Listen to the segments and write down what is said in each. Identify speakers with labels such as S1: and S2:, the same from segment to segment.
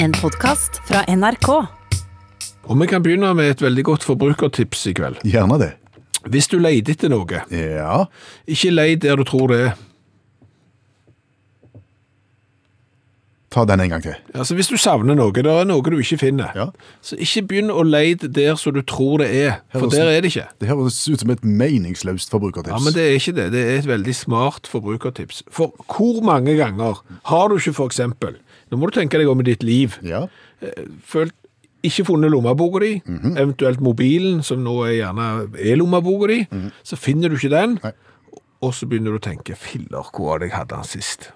S1: En podkast fra NRK.
S2: Og vi kan begynne med et veldig godt forbrukertips i kveld.
S3: Gjerne det.
S2: Hvis du leter etter noe,
S3: Ja.
S2: ikke leit der du tror det er.
S3: Ta den en gang til.
S2: Altså Hvis du savner noe, det er noe du ikke finner,
S3: Ja.
S2: så ikke begynn å leite der som du tror det er, for
S3: Høres-
S2: der er det ikke.
S3: Det høres ut som et meningsløst forbrukertips.
S2: Ja, men det er ikke det. Det er et veldig smart forbrukertips. For hvor mange ganger har du ikke for eksempel, nå må du tenke deg om i ditt liv,
S3: Ja.
S2: følt ikke funnet lommeboka di, eventuelt mobilen, som nå er gjerne er lommeboka di, så finner du ikke den,
S3: Nei.
S2: og så begynner du å tenke, filler, hvor var det jeg hadde den sist?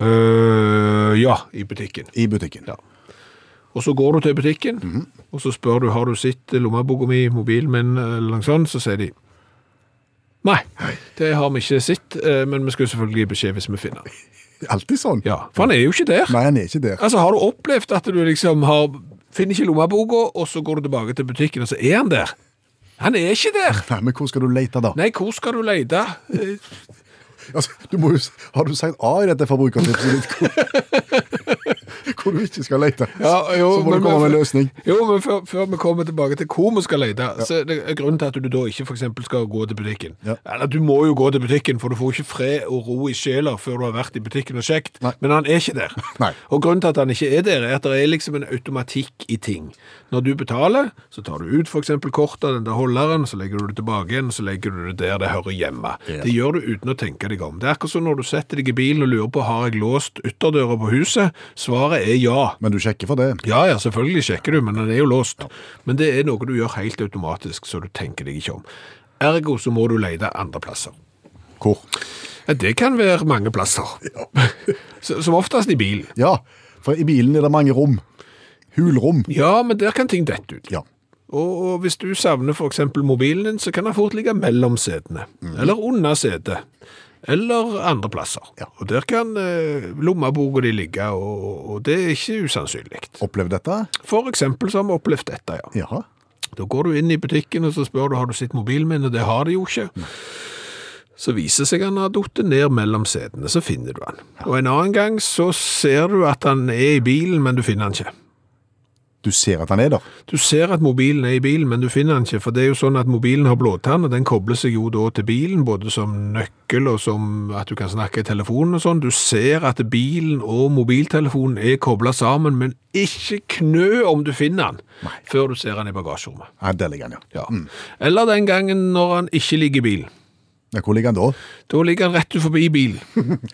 S2: Øh, ja, i butikken.
S3: I butikken.
S2: Ja. Og så går du til butikken, og så spør du, har du sett lommeboka mi, mobilen min, eller noe sånt, så sier de, nei, det har vi ikke sett, eh, men vi skal jo selvfølgelig gi beskjed hvis vi finner. den."
S3: Alltid sånn.
S2: Ja, for han er jo ikke der.
S3: Nei, han er ikke der.
S2: Altså, har du opplevd at du liksom har finner ikke lommeboka, og så går du tilbake til butikken, og så er han der? Han er ikke der!
S3: Nei, men hvor skal du lete da?
S2: Nei, hvor skal du lete? Eh,
S3: Altså, du må jo, s- har du sagt A i dette forbrukertipset ditt? Hvor, hvor du ikke skal lete.
S2: ja, jo,
S3: så må
S2: men-
S3: du komme med en løsning.
S2: Jo, men før, før vi kommer tilbake til hvor vi skal lete, så er det er grunnen til at du da ikke for eksempel skal gå til butikken.
S3: Ja.
S2: Eller du må jo gå til butikken, for du får ikke fred og ro i sjela før du har vært i butikken og sjekt.
S3: Nei.
S2: Men han er ikke der.
S3: Nei.
S2: Og grunnen til at han ikke er der, er at det er liksom en automatikk i ting. Når du betaler, så tar du ut for eksempel kortet, den der holderen, så legger du det tilbake igjen, så legger du det der det hører hjemme.
S3: Ja.
S2: Det gjør du uten å tenke deg om. Det er akkurat som når du setter deg i bilen og lurer på har jeg låst ytterdøra på huset. Svaret er ja.
S3: Men du sjekker for det.
S2: Ja, ja, selvfølgelig sjekker du, men den er jo låst. Men det er noe du gjør helt automatisk, så du tenker deg ikke om. Ergo så må du lete andre plasser.
S3: Hvor?
S2: Ja, det kan være mange plasser. Så- Som oftest i bilen.
S3: Ja, for i bilen er det mange rom. Hulrom.
S2: Ja, men der kan ting dette ut.
S3: Ja.
S2: Og, og hvis du savner for eksempel mobilen din, så kan den fort ligge mellom setene. Eller under setet. Eller andre plasser.
S3: Ja.
S2: Og der kan eh, lommeboka di ligge, og, og- og det er ikke usannsynlig.
S3: Opplev dette?
S2: For eksempel så har vi opplevd dette, ja.
S3: Ja.
S2: Da går du inn i butikken og så spør du har du sett mobilen min, og det har de jo ikke. Så viser seg han har datt ned mellom setene, så finner du han. Og en annen gang så ser du at han er i bilen, men du finner han ikke.
S3: Du ser at han er der.
S2: Du ser at mobilen er i bilen, men du finner den ikke, for det er jo sånn at mobilen har blåtann, og den kobler seg jo da til bilen, både som nøkkel og som at du kan snakke i telefonen og sånn. Du ser at bilen og mobiltelefonen er koblet sammen, men ikke knø om du finner den, før du ser den i bagasjerommet.
S3: Ja, der ligger han, ja.
S2: Ja. Eller den gangen når han ikke ligger i bil.
S3: ja. Hvor ligger han da?
S2: Da ligger han rett ut forbi bil,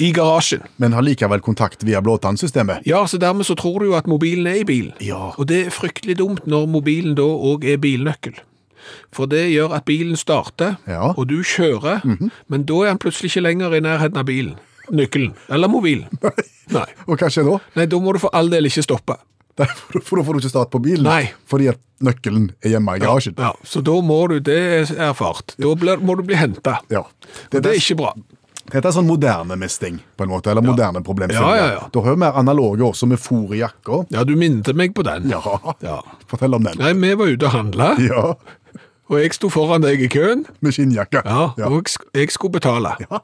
S2: i garasjen.
S3: Men har likevel kontakt via blåtannsystemet?
S2: Ja, så dermed så tror du jo at mobilen er i bilen.
S3: Ja.
S2: Og det er fryktelig dumt når mobilen da òg er bilnøkkel. For det gjør at bilen starter,
S3: Ja.
S2: og du kjører, men da er han plutselig ikke lenger i nærheten av bilen. Nøkkelen. Eller mobilen. Nei.
S3: Og hva skjer da?
S2: Nei, da må du for all del ikke stoppe.
S3: Da får du- for da får du ikke start på bilen.
S2: Nei.
S3: Fordi at nøkkelen er hjemme i garasjen.
S2: Ja, Så da må du Det er erfart. Da blir, må du bli henta.
S3: Ja.
S2: Det er ikke bra.
S3: Dette er sånn moderne misting, på en måte, eller moderne problemstillinger.
S2: Ja, ja, ja.
S3: Da har vi mer analoge også, med fôr i jakka.
S2: Ja, du minnet meg på den.
S3: Ja.
S2: Ja.
S3: Fortell om den.
S2: Nei, vi var ute og handla,
S3: Ja,
S2: og jeg sto foran deg i køen.
S3: med skinnjakke.
S2: Ja, Og jeg sk- jeg skulle betale.
S3: Ja.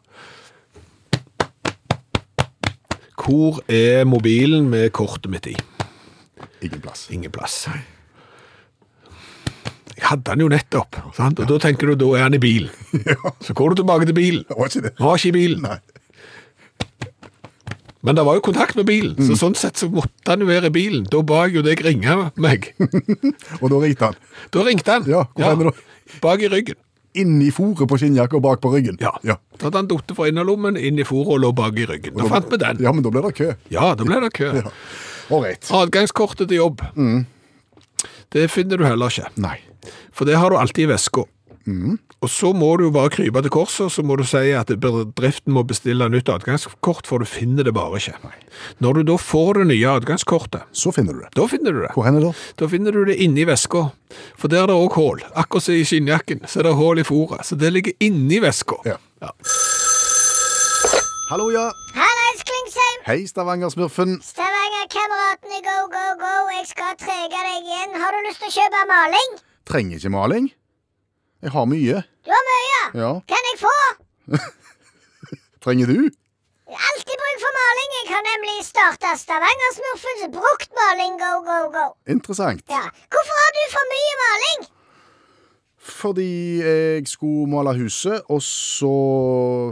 S2: Hvor er mobilen med kortet mitt i?
S3: Ingen plass.
S2: Ingen plass. Jeg hadde den jo nettopp, sant? og da tenker du da er han i bil. Så går du tilbake til bilen.
S3: Det var ikke det.
S2: Han var ikke i bilen.
S3: Nei.
S2: Men det var jo kontakt med bilen,
S3: Mm.
S2: så sånn sett så måtte han jo være i bilen. Da ba jeg jo deg ringe meg.
S3: Og da ringte han.
S2: Da ringte han.
S3: Ja, hvor er det da?
S2: Bak i ryggen.
S3: Inni fôret på skinnjakka og bak på ryggen.
S2: Ja.
S3: Ja,
S2: Da hadde han datt fra innerlommen, inn i fôret og lå bak i ryggen. Da fant vi den. Ah.
S3: ja men da ble det kø.
S2: Ja, da ble det kø.
S3: Ja. Ålreit.
S2: Adgangskortet til jobb. Det finner du heller ikke,
S3: Nei.
S2: for det har du alltid i veska. Og så må du jo bare krype til korset, og så må du si at bedriften må bestille nytt adgangskort, for du finner det bare ikke. Når du da får det nye adgangskortet,
S3: Så finner du det.
S2: da finner du det.
S3: Hvor hen er det?
S2: Da finner du det inni veska, for der er det òg hull. Akkurat som i skinnjakken, så er det hull i fôret, så det ligger inni veska.
S3: Ja.
S2: Ja.
S3: Hallo, ja.
S4: Hallais, Klingsheim!
S3: Hei, Stavanger-smurfen.
S4: Stavanger-kameratene, go, go, go. Jeg skal trege deg igjen. Har du lyst til å kjøpe maling?
S3: Trenger ikke maling. Jeg har mye.
S4: Du har mye.
S3: Ja.
S4: Kan jeg få?
S3: Trenger du?
S4: Alltid bruk for maling. Jeg har nemlig starta Stavangersmurfens bruktmaling go, go, go.
S3: Interessant.
S4: Ja. Hvorfor har du for mye maling?
S3: Fordi jeg skulle male huset, og så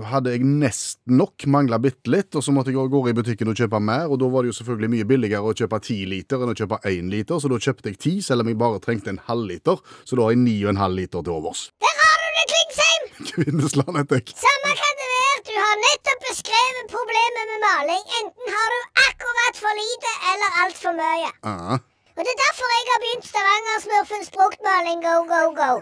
S3: hadde jeg nesten nok, mangla bitte litt, og så måtte jeg av gårde i butikken og kjøpe mer, og da var det jo selvfølgelig mye billigere å kjøpe ti liter enn å kjøpe én liter, så da kjøpte jeg ti, selv om jeg bare trengte en halvliter, så da har jeg ni og en halv liter til overs.
S4: Der har du det, Klingsheim!
S3: Kvinnesland heter jeg.
S4: Samme kan det være. Du har nettopp beskrevet problemet med maling. Enten har du akkurat for lite eller altfor mye.
S3: Ah,
S4: Og det er derfor jeg har begynt Stavangersmurfens bruktmaling go, go, go.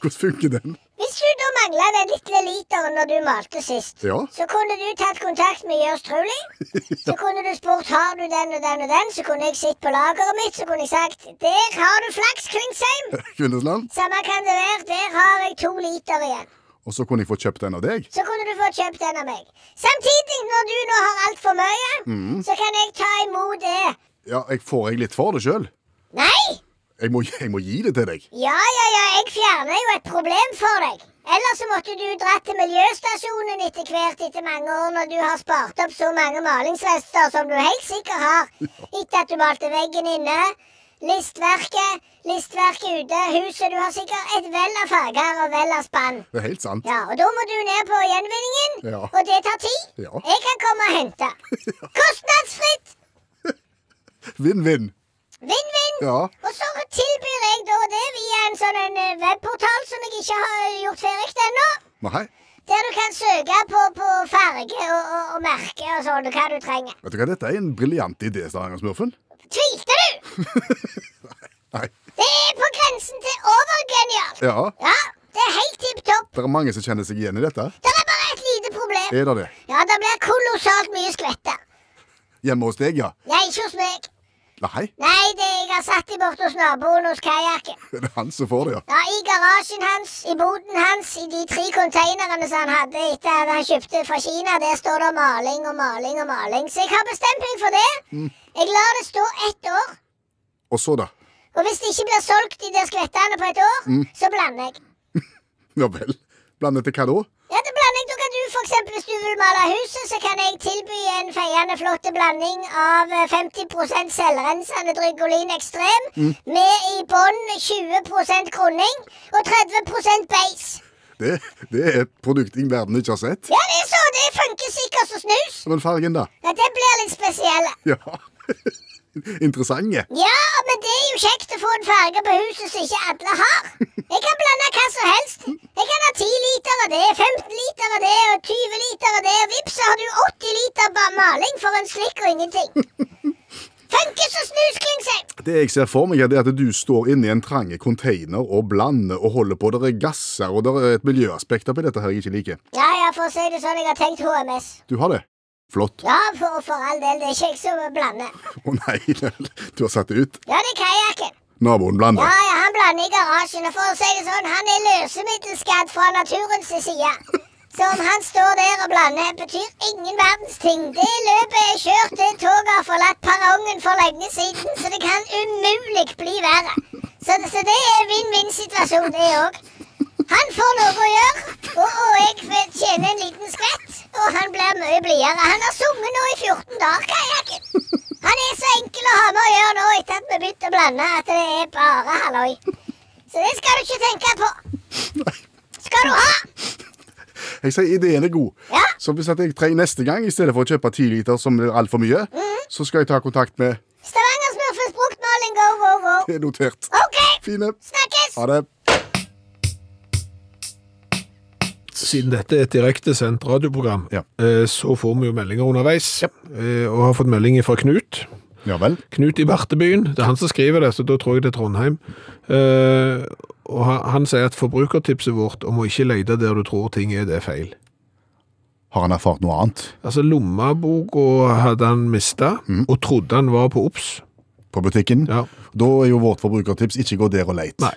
S3: hvordan funker den?
S4: Hvis du da mangla den lille literen når du malte sist,
S3: Ja.
S4: så kunne du tatt kontakt med Jørs Truling. Så kunne du spurt har du den og den og den, så kunne jeg sett på lageret mitt, så kunne jeg sagt der har du flaks, Klingsheim.
S3: Kvinnesland.
S4: Samme kan det være, der har jeg to liter igjen.
S3: Og så kunne jeg fått kjøpt en av deg.
S4: Så kunne du få kjøpt den av meg. Samtidig, når du nå har altfor mye, så kan jeg ta imot det.
S3: Ja, jeg får jeg litt for det sjøl.
S4: Nei!
S3: Jeg, må- jeg må gi det til deg.
S4: Ja, ja, ja, jeg fjerner jo et problem for deg. Ellers så måtte du dratt til miljøstasjonen etter hvert etter mange år når du har spart opp så mange malingsrester som du helt sikkert har etter at du malte veggen inne, listverket, listverket ute, huset. Du har sikkert et vell av farger og vell av spann.
S3: Det er helt sant.
S4: Ja, og da må du ned på gjenvinningen,
S3: Ja.
S4: og det tar tid.
S3: Ja.
S4: Jeg kan komme og hente. Kostnadsfritt!
S3: Vinn-vinn.
S4: Vinn-vinn!
S3: Ja.
S4: Og så tilbyr jeg da det via en sånn en eh, webportal som jeg ikke har gjort ferdig ennå.
S3: Nei,
S4: Der du kan søke på, på farge og, og, og merke og sånn, og hva du trenger.
S3: vet du hva, dette er en briljant idé, Stavanger-smurfen.
S4: Tvilte du?
S3: Nei.
S4: Det er på grensen til overgenialt.
S3: Ja.
S4: Ja, det er helt tipp topp.
S3: Det er mange som kjenner seg igjen i dette.
S4: Det er bare et lite problem.
S3: Er det det?
S4: Ja, det blir kolossalt mye skvetter.
S3: Hjemme hos deg, ja?
S4: Nei, ikke hos meg.
S3: Nei,
S4: Nei, det jeg har satt de borte hos naboen hos kajakken.
S3: det er han som får det, ja.
S4: Ja, I garasjen hans, i boden hans, i de tre konteinerne som han hadde etter at han kjøpte fra Kina, der står det maling og maling og maling. Så jeg har bestemt meg for det. Jeg lar det stå ett år.
S3: Og så, da?
S4: Og hvis det ikke blir solgt de der skvettene på et år, så blander jeg.
S3: Ja vel. Blandet til hva da?
S4: Ja, det blander jeg. Da kan du for eksempel, hvis du vil male huset, så kan jeg tilby en feiende flott blanding av eh, 50 selvrensende Drygolin Ekstrem med i bånn 20 kroning og 30 beis.
S3: Det, det er et produkt i verden ikke har sett.
S4: Ja, det er så. Det funker sikkert som snus.
S3: Men fargen, da?
S4: Ja, det blir litt spesielle.
S3: Ja. Interessante.
S4: Ja, men det er jo kjekt å få en farge på huset som ikke alle har. Jeg kan blande hva som helst. Jeg kan ha 10 liter av det, 15 liter av det og 20 liter av det, og vips, så har du 80 liter ba- maling for en slikk og ingenting. Funker som snus, Klingsheim.
S3: Det jeg ser for meg, er det at du står inne i en trange container og blander og holder på. Det er gasser, og det er et miljøaspekt oppi dette her jeg ikke liker.
S4: Ja, ja, for å si det sånn, jeg har tenkt HMS.
S3: Du har det? Flott.
S4: Ja, for, for all del, det er ikke jeg som blander.
S3: Å nei, du har satt det ut.
S4: Ja, det er kajakken.
S3: Naboen
S4: Ja,
S3: blander.
S4: ja, han blander i garasjen, og for å si det sånn, han er løsemiddelskadd fra naturens side. Så om han står der og blander, betyr ingen verdens ting. Det løpet er kjørt, det toget har forlatt perrongen for lenge siden, så det kan umulig bli verre. Så, så det er vinn-vinn-situasjon, det òg. Han får noe å gjøre, og, og jeg tjener en liten skvett. Og han blir mye blidere. Han har sunget nå i 14 dager, kajakken. Han er så enkel å ha med å gjøre nå etter at vi begynte å blande, at det er bare halloi. Så det skal du ikke tenke på. Skal du ha?
S3: Jeg sier ideen er god.
S4: Ja.
S3: Så hvis at jeg trenger neste gang, i stedet for å kjøpe 10 liter som er altfor mye, så skal jeg ta kontakt med
S4: Stavangersmurfens bruktmaling, go, go, go.
S3: Det er notert.
S4: OK,
S3: Fine.
S4: snakkes!
S3: Ha det.
S2: Siden dette er et direktesendt radioprogram,
S3: Ja.
S2: eh, så får vi jo meldinger underveis. Eh, Og har fått melding fra Knut.
S3: Ja vel.
S2: Knut i Bartebyen. Det er han som skriver det, så da tror jeg det er Trondheim. Eh, Og han, han sier at forbrukertipset vårt om å ikke lete der du tror ting er, det er feil.
S3: Har han erfart noe annet
S2: Altså, lommeboka hadde han mista, og trodde han var på OBS.
S3: på butikken?
S2: Ja.
S3: Da er jo vårt forbrukertips ikke gå der og leit.
S2: Nei.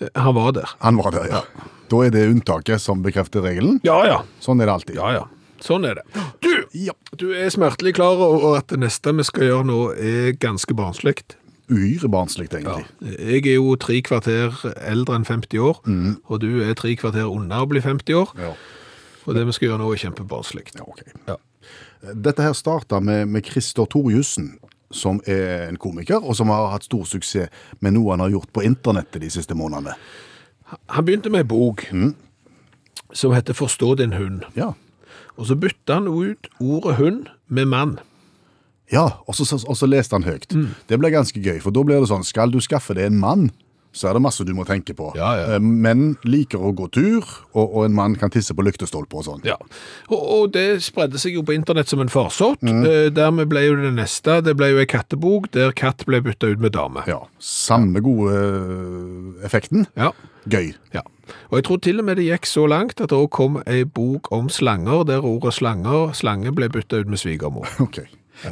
S2: Eh, Han var der.
S3: Han var der, ja. Da er det unntaket som bekrefter regelen.
S2: Ja, ja.
S3: Sånn er det alltid.
S2: Ja, ja. Sånn er det. Du,
S3: Ja.
S2: du er smertelig klar over at det neste vi skal gjøre nå, er ganske barnslig.
S3: Uhyre barnslig, egentlig.
S2: Jeg er jo tre Mm. kvarter eldre enn 50 år, og du er tre kvarter under å bli 50 år.
S3: Ja.
S2: Og det vi skal gjøre nå er kjempebarnslig.
S3: Ja, ok. Dette her starta med, med Christer Torjussen, som er en komiker, og som har hatt stor suksess med noe han har gjort på internettet de siste månedene.
S2: Han begynte med en bok som heter Forstå din hund.
S3: Ja,
S2: Og så bytta han ut ordet hund med mann.
S3: ja og, så, så- og så leste han høyt.
S2: Mm.
S3: Det ble ganske gøy, for da blir det sånn skal du skaffe deg en mann, så er det masse du må tenke på.
S2: Ja, ja.
S3: Eh, Menn liker å gå tur, og, og en mann kan tisse på lyktestolper og sånn.
S2: Ja. Og, og det spredde seg jo på internett som en farsott. Eh, dermed ble jo det neste Det ble jo ei kattebok der katt ble bytta ut med dame.
S3: Ja, Samme gode eh, effekten.
S2: Ja.
S3: Gøy.
S2: ja. Og jeg tror til og med det gikk så langt at det også kom ei bok om slanger, der ordet slanger, slange ble bytta ut med svigermor.
S3: Ok.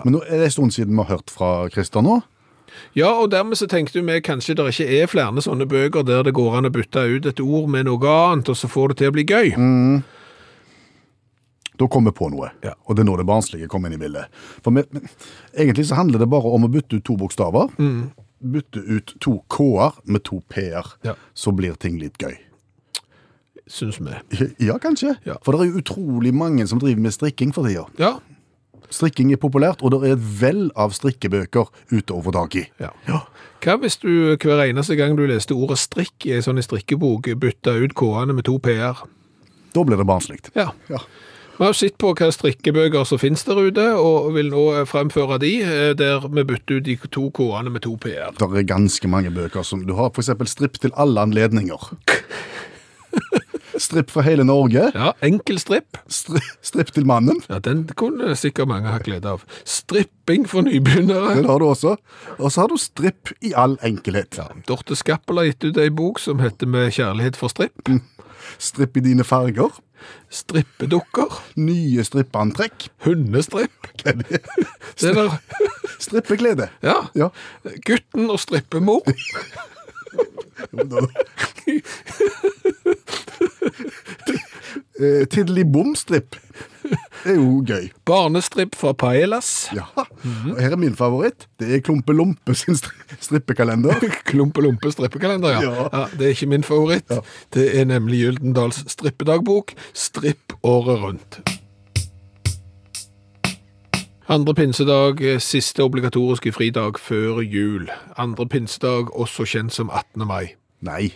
S3: Men nå er det en stund siden vi har hørt fra Christer nå.
S2: Ja, og dermed så tenkte vi kanskje det ikke er flere sånne bøker der det går an å bytte ut et ord med noe annet, og så får det til å bli gøy.
S3: Da kom vi på noe,
S2: Ja.
S3: og det er nå det barnslige kom inn i bildet. For vi, men, egentlig så handler det bare om å bytte ut to bokstaver.
S2: Mm.
S3: Bytte ut to K-er med to P-er,
S2: Ja.
S3: så blir ting litt gøy.
S2: Syns vi.
S3: Ja, kanskje.
S2: Ja.
S3: For det er jo utrolig mange som driver med strikking for tida.
S2: Ja.
S3: Strikking er populært, og det er et vell av strikkebøker ute å få tak i.
S2: ja.
S3: Ja.
S2: Hva hvis du hver eneste gang du leste ordet strikk i en sånn strikkebok, bytta ut K-ene med to P-er?
S3: Da blir det barnslig.
S2: Ja.
S3: Ja.
S2: Vi har jo sett på hva strikkebøker som finnes der ute, og vil nå eh, fremføre de, eh, der vi bytter ut de to K-ene med to P-er.
S3: Det er ganske mange bøker som du har, f.eks. stripp til alle anledninger. Stripp fra hele Norge.
S2: Ja, enkel stripp.
S3: Stri stripp til mannen.
S2: Ja, den kunne sikkert mange ha glede av. Stripping for nybegynnere.
S3: Den har du også. Og så har du stripp i all enkelhet.
S2: Ja, Dorte Skappel har gitt ut ei bok som heter Med kjærlighet for stripp.
S3: Mm. Stripp i dine farger.
S2: Strippedukker.
S3: Nye strippeantrekk.
S2: Hundestripp. Det er der.
S3: Strippeklede.
S2: Ja.
S3: Ja.
S2: Gutten og strippemor.
S3: Eh, Tiddeli bomstripp. Det er jo gøy.
S2: Barnestripp fra Paelas.
S3: Ja. Og her er min favoritt. Det er Klumpe Lompe sin stri- strippekalender.
S2: Klumpe-lumpe strippekalender, ja.
S3: Ja.
S2: ja. Det er ikke min favoritt. Det er nemlig Gyldendals strippedagbok. Stripp året rundt. Andre pinsedag, eh, siste obligatoriske fridag før jul. Andre pinsedag, også kjent som 18. mai.
S3: Nei.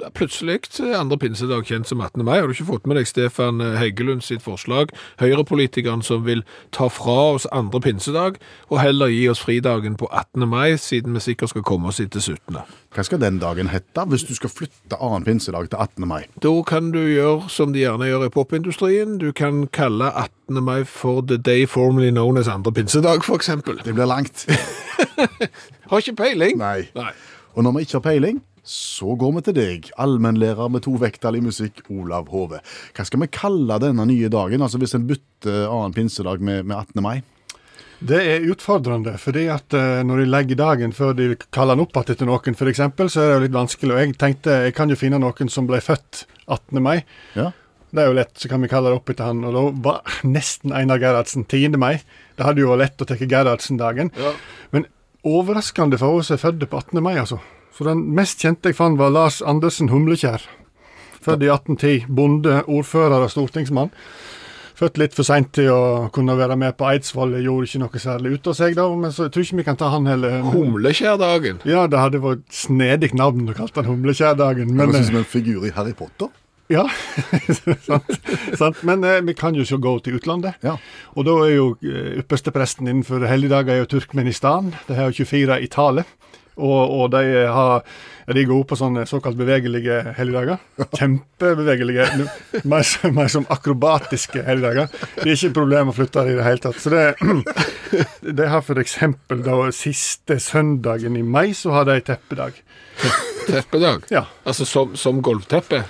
S2: Det er Plutselig eh, andre pinsedag kjent som 18. mai. Har du ikke fått med deg Stefan Heggelund sitt forslag? Høyrepolitikeren som vil ta fra oss andre pinsedag, og heller gi oss fridagen på 18. mai, siden vi sikkert skal komme oss etter 17.
S3: Hva skal den dagen hete hvis du skal flytte annen pinsedag til 18. mai?
S2: Da kan du gjøre som de gjerne gjør i popindustrien. Du kan kalle 18. mai for the day formerly known as andre pinsedag, for eksempel.
S3: Det blir langt.
S2: Har ikke peiling.
S3: Nei.
S2: Nei.
S3: Og når vi ikke har peiling, så går vi til deg, allmennlærer med to vekttall i musikk, Olav Hove. Hva skal vi kalle denne nye dagen, altså hvis en bytter annen pinsedag med, med 18. mai?
S5: Det er utfordrende, fordi at eh, når de legger dagen før de kaller den opp igjen etter noen, f.eks., så er det jo litt vanskelig. Og jeg tenkte jeg kan jo finne noen som ble født 18. mai.
S3: Ja,
S5: Det er jo lett, så kan vi kalle det opp etter han. Og da var nesten Einar Gerhardsen 10. mai. Det hadde jo vært lett å ta Gerhardsen-dagen. Men overraskende for oss er født på 18. mai, altså. Så den mest kjente jeg fant, var Lars Andersen Humlekjær. Født i 1810. Bonde, ordfører og stortingsmann. Født litt for seint til å kunne være med på Eidsvoll. Jeg gjorde ikke noe særlig ut av seg da, men så jeg tror ikke vi kan ta han heller.
S2: Humlekjærdagen.
S5: Ja, det hadde vært snedig navn å kalle han Humlekjærdagen, men
S3: Det synes som en figur i Harry Potter.
S5: ja, sant, sant. Men eh, vi kan jo ikke gå til utlandet.
S3: Ja.
S5: Og da er jo eh, ypperste presten innenfor helligdager er jo Turkmenistan. De har jo 24 i tallet. Og, og de, har, ja, de er gode på sånne såkalt bevegelige helligdager. Kjempebevegelige. nu- Mer, som- mer som akrobatiske helligdager. Det er ikke et problem å flytte det i det hele tatt. Så det, de har f.eks. da siste søndagen i mai, så har de teppedag.
S2: Teppedag.
S5: Ja.
S2: Altså som, som golvteppe.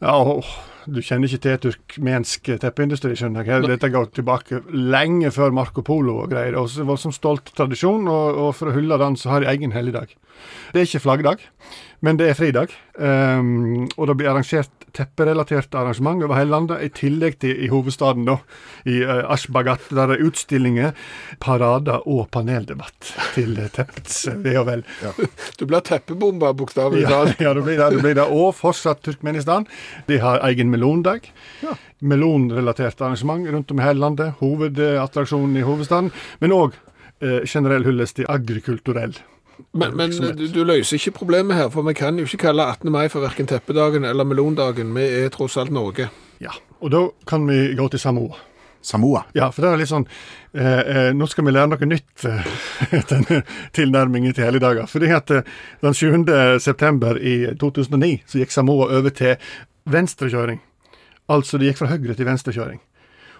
S5: Ja, åh, du kjenner ikke til turkmensk teppeindustri, skjønner jeg. Her- Dette går tilbake lenge før Marco Polo og greier. Og så var det som stolt tradisjon, og, og for å hylle den, så har de egen helligdag. Det er ikke flaggdag, men det er fridag. Ehm, og det blir arrangert tepperelaterte arrangement over hele landet, i tillegg til i hovedstaden, da, i eh, Ashbagat, der det er utstillinger, parader og paneldebatt til eh, teppets eh, ve og vel.
S2: Du blir teppebomba, bokstavelig
S5: Ja,
S2: talt.
S5: ja, det blir det. det, blir det. Og fortsatt Turkmenistan. De har egen melondag. Melonrelatert arrangement rundt om i hele landet. Hovedattraksjonen i hovedstaden. Men òg eh, generell hyllest til agrikulturell.
S2: Men, men du, du løser ikke problemet her, for vi kan jo ikke kalle 18. mai for verken teppedagen eller melondagen. Vi er tross alt Norge.
S5: Ja. Og da kan vi gå til Samoa.
S3: Samoa.
S5: Ja, for det er litt sånn eh, eh, Nå skal vi lære noe nytt, eh, denne tilnærmingen til helligdager. Fordi at eh, den 7. september i 2009 så gikk Samoa over til venstrekjøring. Altså det gikk fra høyre til venstrekjøring.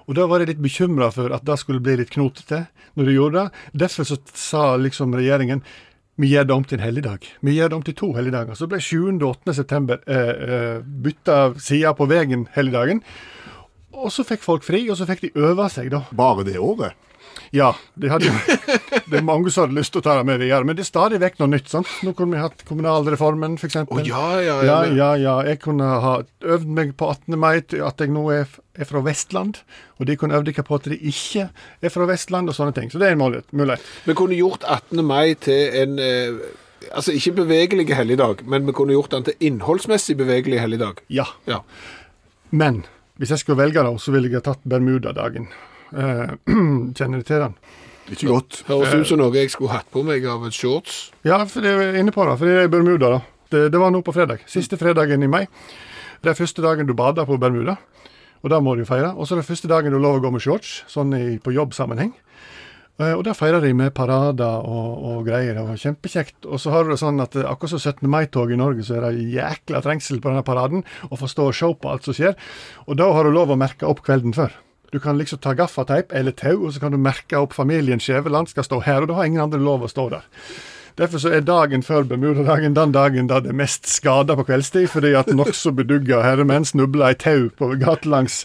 S5: Og da var jeg litt bekymra for at det skulle bli litt knotete når de gjorde det. Derfor så sa liksom regjeringen vi gjør det om til en helligdag. Vi gjør det om til to helligdager. Så ble 7. og 8. september eh, eh, bytta side på veien helligdagen. Og så fikk folk fri, og så fikk de øve seg, da.
S3: Bare det året?
S5: Ja, de hadde jo, det er mange som hadde lyst til å ta det med videre, men det er stadig vekk noe nytt. sant? Nå kunne vi hatt kommunalreformen, f.eks.
S2: Å ja, ja,
S5: ja,
S2: ja.
S5: ja, ja. Jeg kunne ha øvd meg på 18. mai til at jeg nå er, f- er fra Vestland, og de kunne øvd seg på at de ikke er fra Vestland, og sånne ting. Så det er en mulighet. mulighet.
S2: Vi kunne gjort 18. mai til en eh, Altså ikke bevegelig helligdag, men vi kunne gjort den til innholdsmessig bevegelig helligdag.
S5: Ja.
S2: Ja.
S5: Men hvis jeg skulle velge, da, så ville jeg ha tatt Bermudadagen. Eh, kjenner du til den?
S3: Ikke godt.
S2: Høres ut som noe jeg skulle hatt på meg av et shorts.
S5: Ja, for det er inne på det, for det er Bermuda, da. Det, det var nå på fredag. Siste fredagen i mai. Det er første dagen du bader på Bermuda, og det må du feire. Og så er det første dagen du har lov å gå med shorts, sånn i, på jobbsammenheng. Eh, Og der feirer de med parader og, og greier, og kjempekjekt. Og så har du det sånn at eh, akkurat som 17. mai-tog i Norge, så er det jækla trengsel på denne paraden, og få stå og se på alt som skjer. Og da har du lov å merke opp kvelden før. Du kan liksom ta gaffateip eller tau, og så kan du merke opp familien Skjæveland skal stå her, og da har ingen andre lov å stå der. Derfor så er dagen før Bermudadagen den dagen da det er mest skader på kveldstid, fordi at nokså bedugga herremenn snubla i tau på gatelangs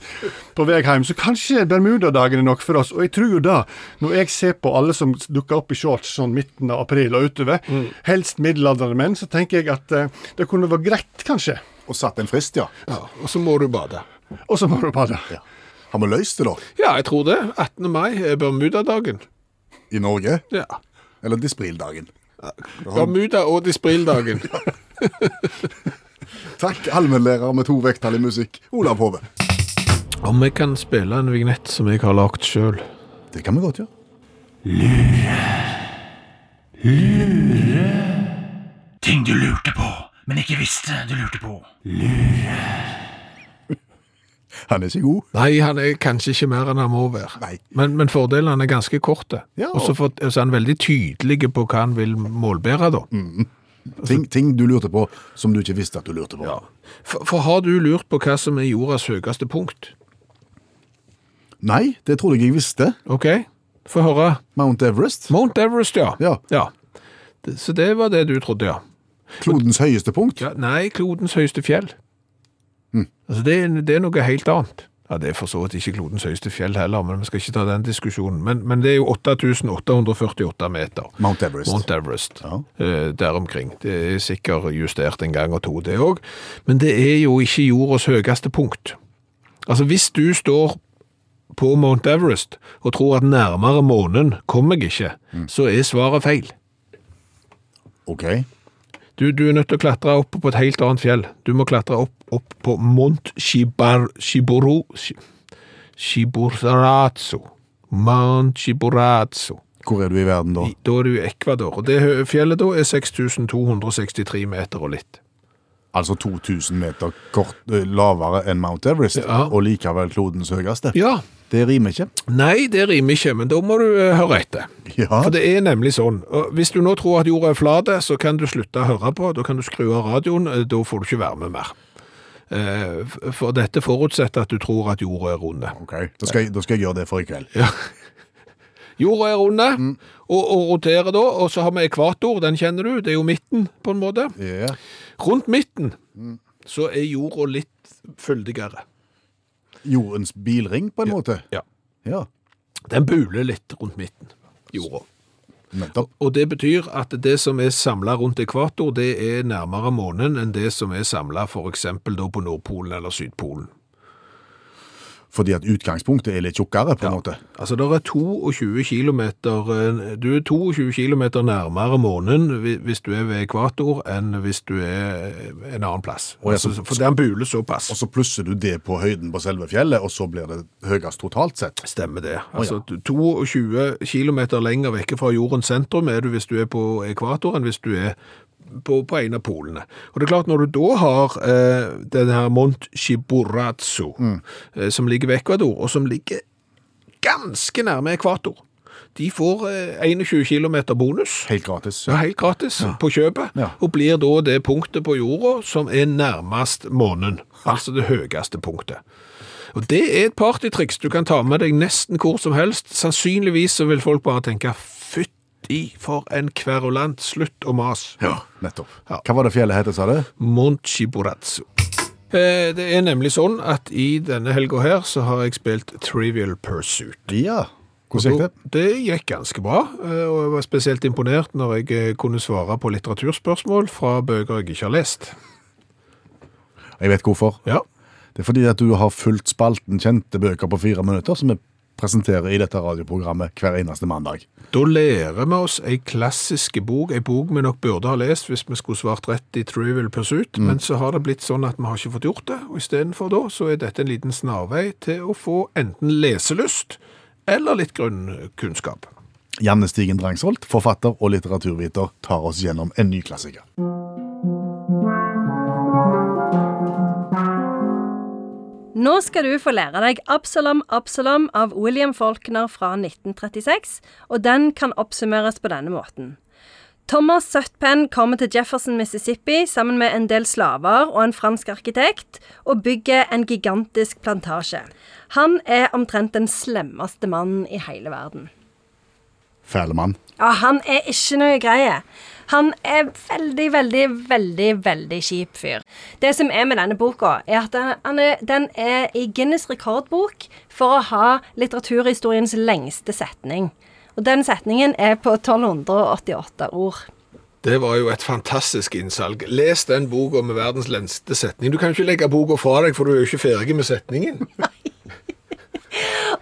S5: på vei hjem. Så kanskje Bermudadagen er nok for oss. Og jeg tror jo det, når jeg ser på alle som dukker opp i shorts sånn midten av april og utover, helst middelaldrende menn, så tenker jeg at eh, det kunne vært greit, kanskje.
S3: Og satt en frist, ja.
S2: Ja, og så må du bade.
S5: Og så må du padle.
S3: Har vi løst det, da?
S2: Ja, jeg tror det. 18. mai er Bermudadagen.
S3: I Norge?
S2: Ja.
S3: Eller Disprildagen?
S2: Bermuda og Disprildagen.
S3: Takk, allmennlærer med to vekttall i musikk, Olav Hove.
S2: Om jeg kan spille en vignett som jeg har lagd sjøl.
S3: Det kan vi godt gjøre.
S6: Ting du lurte på, men ikke visste du lurte på.
S3: Han er så god.
S2: Nei, han er kanskje ikke mer enn han må være.
S3: Nei.
S2: Men, men fordelene er ganske korte.
S3: Ja,
S2: og så for- så er han veldig tydelig på hva han vil målbære, da.
S3: Mm. Ting, ting du lurte på som du ikke visste at du lurte på.
S2: For, for har du lurt på hva som er jordas høyeste punkt?
S3: Nei, det trodde jeg jeg visste.
S2: OK, få høre.
S3: Mount Everest.
S2: Mount Everest, ja.
S3: Ja.
S2: Det- Så det var det du trodde, ja.
S3: Klodens høyeste punkt.
S2: ja nei, klodens høyeste fjell.
S3: Mm.
S2: Altså, det, er- det er noe helt annet. Ja, Det er for så vidt ikke klodens høyeste fjell heller, men vi skal ikke ta den diskusjonen. Men, men det er jo 8848 meter.
S3: Mount Everest.
S2: Mount E- Everest.
S3: Ja.
S2: Eh, der omkring. Det er sikkert justert en gang og to, det òg. Men det er jo ikke jordas høyeste punkt. Altså, hvis du står på Mount Everest og tror at nærmere månen kommer jeg ikke,
S3: Mm.
S2: så er svaret feil.
S3: Ok.
S2: Du, du er nødt til å klatre opp på et helt annet fjell. Du må klatre opp, opp på Mount Shibar, Shiboro, Shi- Shiborazo. Mount Shiborazo.
S3: Hvor er du i verden da?
S2: I- Da er du i Ecuador, og det hø- fjellet da er 6263 meter og litt.
S3: Altså 2000 meter kort, eh, lavere enn Mount Everest,
S2: Ja.
S3: og likevel klodens høyeste.
S2: Ja,
S3: Det rimer ikke.
S2: nei, det rimer ikke, men da må du eh, høre etter.
S3: Ja.
S2: For det er nemlig sånn, og hvis du nå tror at jorda er flate, så kan du slutte å høre på, da kan du skru av radioen, eh, da får du ikke være med mer. Eh, f- For dette forutsetter at du tror at jorda er runde.
S3: Ok, da skal, jeg, da skal jeg gjøre det for i kveld.
S2: Jorda er runde, og, og roterer da, og så har vi ekvator, den kjenner du, det er jo midten på en måte.
S3: Ja.
S2: Rundt midten, så er jorda litt fyldigere.
S3: Jordens bilring, på en måte.
S2: Ja.
S3: Ja.
S2: Den buler litt rundt midten, jorda.
S3: Nettopp.
S2: Og det betyr at det som er samla rundt ekvator, det er nærmere månen enn det som er samla f.eks. på Nordpolen eller Sydpolen.
S3: Fordi at utgangspunktet er litt tjukkere, på en måte.
S2: Altså, det er 22 kilometer, eh, du er 22 kilometer nærmere månen hvi- hvis du er ved ekvator, enn hvis du er eh, en annen plass.
S3: Og jeg så-
S2: altså, for den buler
S3: Og
S2: såpass.
S3: så plusser du det på høyden på selve fjellet, og så blir det høyest totalt sett.
S2: Stemmer det. Altså, 22 kilometer lenger vekke fra jordens sentrum er du hvis du er på ekvator, enn hvis du er på, på en av polene. Og det er klart, når du da har eh, den her Mont Shiborazu, eh, som ligger ved ekvator, og som ligger ganske nærme ekvator, de får eh, 21 kilometer bonus.
S3: Helt gratis.
S2: Ja, helt gratis på kjøpet,
S3: Ja.
S2: og blir da det punktet på jorda som er nærmest månen, altså det høyeste punktet. Og det er et partytriks du kan ta med deg nesten hvor som helst. Sannsynligvis så vil folk bare tenke, fytti for en kverulant, slutt å mas.
S3: Ja, nettopp.
S2: Ja.
S3: Hva var det fjellet het, sa du?
S2: Monchiborazzo. Eh, Det er nemlig sånn at i denne helga her så har jeg spilt Trivial Pursuit.
S3: Ja. Hvordan gikk det?
S2: Jo, Det gikk ganske bra, eh, og jeg var spesielt imponert når jeg eh, kunne svare på litteraturspørsmål fra bøker jeg ikke har lest.
S3: Jeg vet hvorfor.
S2: Ja.
S3: Det er fordi at du har fulgt spalten kjente bøker på fire minutter, som vi presenterer i dette radioprogrammet hver eneste mandag.
S2: Da lærer vi oss ei klassisk bok, ei bok vi nok burde ha lest hvis vi skulle svart rett i Trivial Pursuit, men så har det blitt sånn at vi har ikke fått gjort det, og istedenfor da så er dette en liten snarvei til å få enten leselyst eller litt grunnkunnskap.
S3: Janne Stigen Drangsholt, forfatter og litteraturviter, tar oss gjennom en ny klassiker.
S7: Nå skal du få lære deg Absalom, Absalom av William Faulkner fra 1936, og den kan oppsummeres på denne måten. Thomas Sutpen kommer til Jefferson, Mississippi sammen med en del slaver og en fransk arkitekt, og bygger en gigantisk plantasje. Han er omtrent den slemmeste mannen i hele verden.
S3: Fæle mann.
S7: Ja, han er ikke noe greie. Han er veldig, veldig, veldig, veldig kjip fyr. Det som er med denne boka, er at den- han er, den er i Guinness rekordbok for å ha litteraturhistoriens lengste setning. Og den setningen er på 1288 ord.
S2: Det var jo et fantastisk innsalg. Les den boka med verdens lengste setning. Du kan ikke legge boka fra deg, for du er jo ikke ferdig med setningen.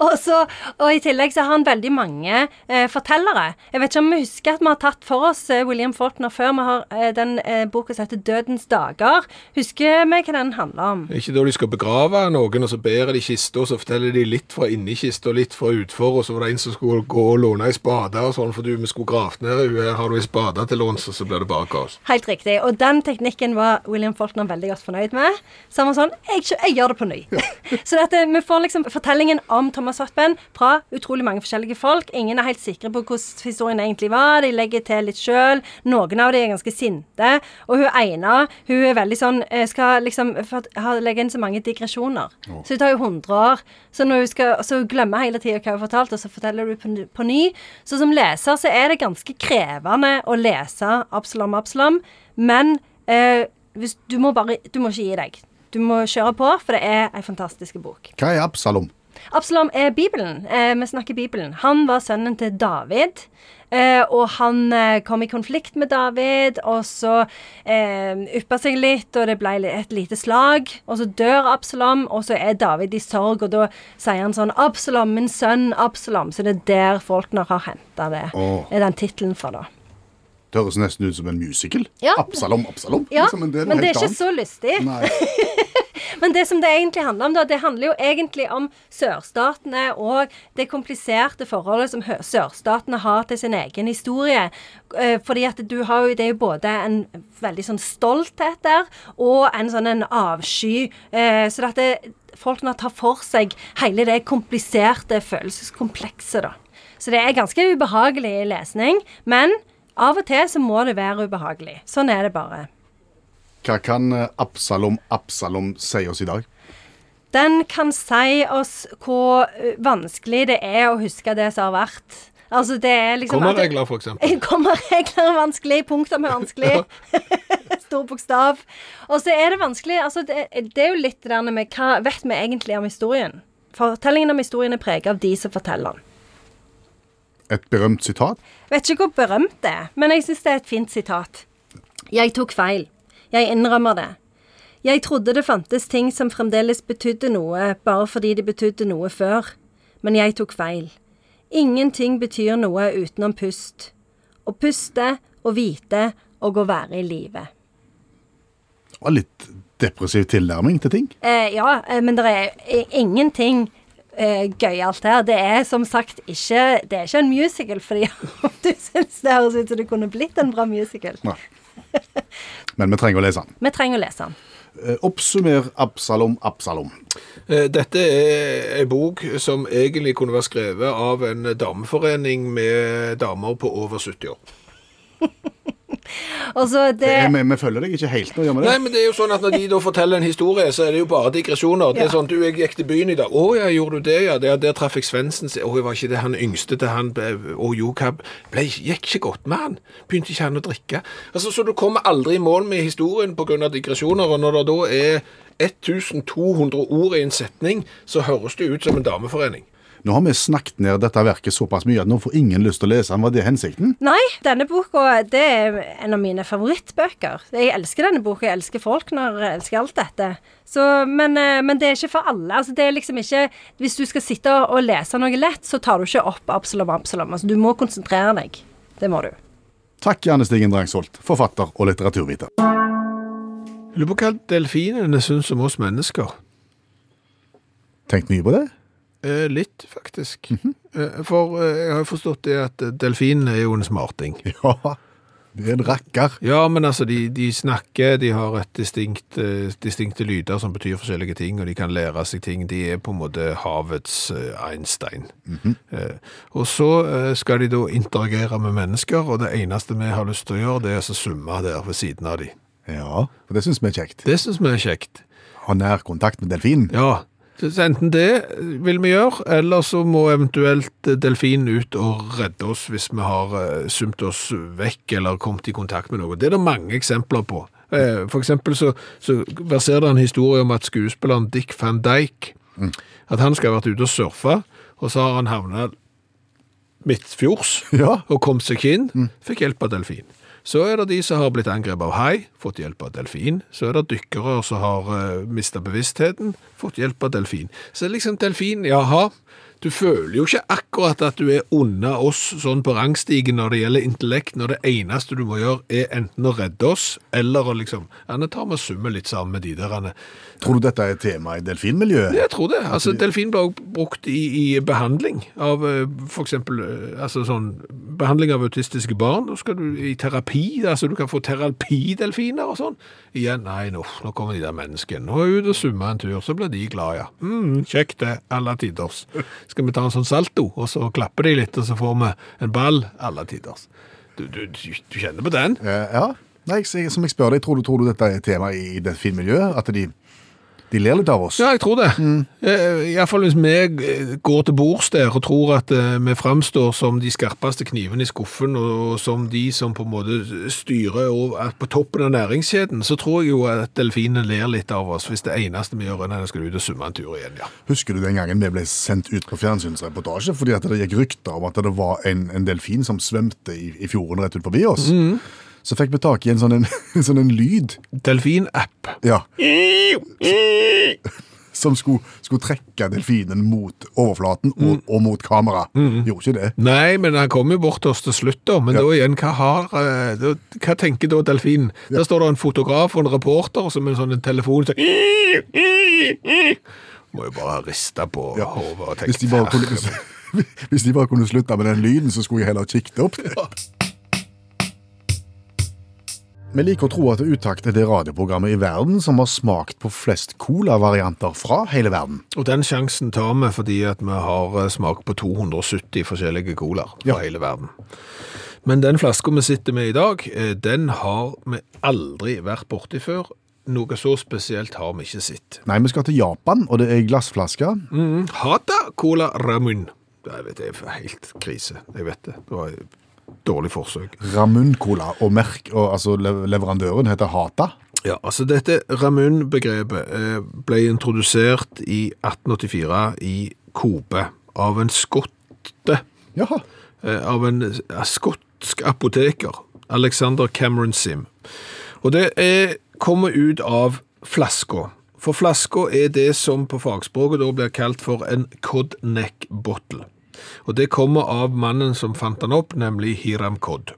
S7: Og, så, og i tillegg så har han veldig mange eh, fortellere. Jeg vet ikke om vi husker at vi har tatt for oss eh, William Faulkner før. Vi har eh, den eh, boka som heter 'Dødens dager'. Husker vi hva den handler om?
S2: Det er Ikke da de skal begrave noen, og så bærer de kista, og så forteller de litt fra inni kista og litt fra utfor, og så var det en som skulle gå og låne ei spade og sånn, for du, vi skulle grave ned, her har du ei spade til låns, og så blir det bare kaos.
S7: Helt riktig. Og den teknikken var William Faulkner veldig godt fornøyd med. Så han var sånn Jeg, kjø- jeg gjør det på ny. så dette, vi får liksom fortellingen om Thomas Hotben fra utrolig mange forskjellige folk. Ingen er helt sikre på hvordan historien egentlig var. De legger til litt sjøl. Noen av de er ganske sinte. Og hun ene hun er veldig sånn eh, Skal liksom for at- ha- legge inn så mange digresjoner. Så det tar jo 100 år. Så når hun skal, så hun glemmer hele tida hva hun fortalte, og så forteller du på, på ny. Så som leser så er det ganske krevende å lese Absalom, Absalom. Men eh, hvis, du, må bare, du må ikke gi deg. Du må kjøre på, for det er ei fantastisk bok.
S3: Hva er Absalom?
S7: Absalom er Bibelen. Eh, vi snakker Bibelen. Han var sønnen til David. Eh, og han eh, kom i konflikt med David, og så eh, yppa seg litt, og det ble li- et lite slag. Og så dør Absalom, og så er David i sorg, og da sier han sånn 'Absalom, min sønn Absalom'. Så det er der Faulkner har henta det.
S3: Åh.
S7: Det er den tittelen for det.
S3: Det høres nesten ut som en musical.
S7: Ja.
S3: Absalom, Absalom.
S7: Ja,
S3: liksom,
S7: men det er,
S3: noe helt
S7: ikke
S3: annet.
S7: så lystig.
S3: Nei.
S7: Men det som det egentlig handler om, da, det handler jo egentlig om sørstatene og det kompliserte forholdet som hø- sørstatene har til sin egen historie. Eh, Fordi at du har jo, det er jo både en veldig sånn stolthet der, og en sånn en avsky. Eh, Så at det, folkene tar for seg hele det kompliserte følelseskomplekset, da. Så det er ganske ubehagelig lesning, men av og til så må det være ubehagelig. Sånn er det bare.
S3: Hva kan eh, Absalom, Absalom si oss i dag?
S7: Den kan si oss hvor eh, vanskelig det er å huske det som har vært. Altså, det er liksom
S2: Kommaregler, for eksempel.
S7: Kommaregler er vanskelig, punktum er vanskelig. Stor bokstav. Og så er det vanskelig altså det, det er jo litt det der med hva vet vi egentlig om historien? Fortellingen om historien er preget av de som forteller den.
S3: Et berømt sitat.
S7: Vet ikke hvor berømt det er, men jeg syns det er et fint sitat. Jeg tok feil. Jeg innrømmer det. Jeg trodde det fantes ting som fremdeles betydde noe, bare fordi de betydde noe før. Men jeg tok feil. Ingenting betyr noe utenom pust. Å puste, å vite og å være i live.
S3: Det var litt depressiv tilnærming til ting.
S7: Eh, ja, eh, men det er i- ingenting eh, gøyalt her. Det er som sagt ikke Det er ikke en musical, fordi om du syns det høres ut som det kunne blitt en bra musical.
S3: Nei. Men vi trenger å lese den.
S7: Vi trenger å lese den.
S3: Eh, Oppsummer Absalom Absalom.
S2: Eh, Dette er en bok som egentlig kunne vært skrevet av en dameforening med damer på over 70 år.
S7: Og så Altså, det
S3: Eh, Vi, vi følger deg ikke helt nå, gjør vi det?
S2: Nei, men det er jo sånn at Når de da forteller en historie, så er det jo bare digresjoner. Det
S7: Ja.
S2: er sånn, du, jeg gikk til byen i dag. Å ja, gjorde du det? Ja, der, der traff jeg Svendsen. Å, jeg var ikke det han yngste til han ble, og jo, hva ble, Gikk ikke godt med han. Begynte ikke han å drikke. Altså, Så du kommer aldri i mål med historien pga. digresjoner. Og når det da er 1200 ord i en setning, så høres det ut som en dameforening.
S3: Nå har vi snakket ned dette verket såpass mye at nå får ingen lyst til å lese den. Var det hensikten?
S7: Nei, denne boka det er en av mine favorittbøker. Jeg elsker denne boka, jeg elsker Faulkner, jeg elsker alt dette. Så, men, eh, men det er ikke for alle. Altså, det er liksom ikke, hvis du skal sitte og lese noe lett, så tar du ikke opp Absalom Absalom. Altså, du må konsentrere deg. Det må du.
S3: Takk, Janne Stigen Drangsholt, forfatter og litteraturviter.
S2: Jeg lurer på hva delfinene syns om oss mennesker.
S3: Tenkt mye på det?
S2: Eh, litt, faktisk. eh, for eh, jeg har jo forstått det at eh, delfinene er jo en smarting.
S3: Ja. Det er en rakker.
S2: Ja, men altså, de, de snakker, de har et distinkt, eh, distinkte lyder som betyr forskjellige ting, og de kan lære seg ting. De er på en måte havets eh, Einstein. Eh, og så eh, skal de da interagere med mennesker, og det eneste vi har lyst til å gjøre, det er å summe der ved siden av de.
S3: Ja, for det syns vi er kjekt.
S2: Det synes vi er kjekt.
S3: Ha nærkontakt med delfinen.
S2: Ja, så enten det vil vi gjøre, eller så må eventuelt delfinen ut og redde oss hvis vi har eh, sumt oss vekk eller kommet i kontakt med noe. Det er det mange eksempler på. Eh, For eksempel så, så verserer det en historie om at skuespilleren Dick Van Dijk, at han skal ha vært ute og surfe, og så har han havnet midtfjords
S3: Ja.
S2: og kom seg ikke inn, fikk hjelp av delfin. Så er det de som har blitt angrepet av hai, fått hjelp av delfin. Så er det dykkere som har uh, mistet bevisstheten, fått hjelp av delfin. Så det er liksom delfin, jaha, du føler jo ikke akkurat at du er unna oss sånn på rangstigen når det gjelder intellekt, når det eneste du må gjøre er enten å redde oss, eller å liksom, ja, nå tar vi og summer litt sammen med de derene.
S3: Tror du dette er et tema i delfinmiljøet?
S2: Jeg tror det. Altså, delfin ble også brukt i, i behandling av eh, for eksempel eh, altså, sånn, behandling av autistiske barn. Da skal du i terapi, altså du kan få terapidelfiner og sånn. Igjen, nei, nå, nå kommer de der menneskene. Nå er jeg ute og summer en tur, så blir de glad, ja. Mm, kjekt det, alle tiders. Skal vi ta en sånn salto, og så klapper de litt, og så får vi en ball, alle tiders. Du, du, du, du kjenner på den?
S3: Eh, ja. Nei, jeg, som jeg spør deg, tror du, tror du dette er et tema i delfinmiljøet? At de, de ler litt av oss?
S2: Ja, jeg tror det. Eh, i hvert fall hvis vi eh, går til bords der og tror at eh, vi framstår som de skarpeste knivene i skuffen, og, og som de som på en måte styrer og er på toppen av næringskjeden, så tror jeg jo at delfinene ler litt av oss hvis det eneste vi gjør, er at vi skal ut og summe en tur igjen, ja.
S3: Husker du den gangen vi ble sendt ut på fjernsynsreportasje fordi at det gikk rykter om at det var en, en delfin som svømte i, i fjorden rett ut forbi oss? Så fikk vi tak i en sånn, en, en sånn en lyd
S2: Delfinapp.
S3: ja, som skulle, skulle trekke delfinen mot overflaten og, og mot kamera. Gjorde ikke det.
S2: Nei, men han kom jo bort til oss til slutt, da. Men
S3: Ja.
S2: da igjen, hva, har, eh, da, hva tenker da delfinen? Der står det en fotograf og en reporter som en sånn en telefon som Må jo bare riste på
S3: Ja.
S2: hodet og
S3: Hvis
S2: tenke
S3: de, bare kunne,
S2: "Herre
S3: hvis, hvis de bare kunne slutte med den lyden, så skulle jeg heller kikket opp. Vi liker å tro at Utakt er det radioprogrammet i verden som har smakt på flest cola-varianter fra hele verden.
S2: Og den sjansen tar vi fordi at vi har eh, smak på 270 forskjellige colaer fra hele verden. Men den flaska vi sitter med i dag, eh, den har vi aldri vært borti før. Noe så spesielt har vi ikke sett.
S3: Nei, vi skal til Japan, og det er glassflasker.
S2: Mm. Hata cola ramen. Jeg vet, det er helt krise. Jeg vet det. Det var et dårlig forsøk.
S3: Ramun Cola, og merk, og, altså le- leverandøren heter Hata.
S2: Ja, altså dette Ramun-begrepet eh, ble introdusert i 1884 i Kobe av en skotte
S3: Jaha.
S2: eh, av en eh, skotsk apoteker, Alexander Cameron Sim. Og det er, kommer ut av flaska. For flaska er det som på fagspråket da blir kalt for en codneck bottle. Og det kommer av mannen som fant den opp, nemlig Hiram Cod.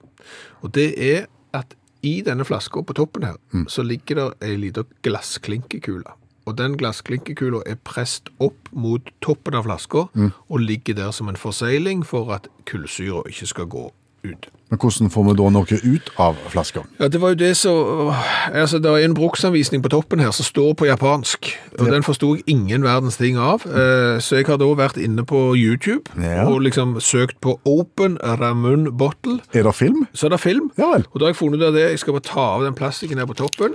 S2: Og det er at i denne flaska på toppen her, så ligger det ei lita glassklinkekule. Og den glassklinkekula er presset opp mot toppen av flaska og ligger der som en forsegling for at kullsyra ikke skal gå ut.
S3: Men hvordan får vi da noe ut av flaska?
S2: Ja, det var jo det som Altså, det er en bruksanvisning på toppen her som står på japansk, og den forsto jeg ingen verdens ting av. Eh, Så jeg har da vært inne på YouTube
S3: Mm. Ja.
S2: og liksom søkt på Open Ramun Bottle.
S3: Er det film?
S2: Så er det film,
S3: Ja vel.
S2: og da har jeg funnet ut av det. Jeg skal bare ta av den plastikken her på toppen.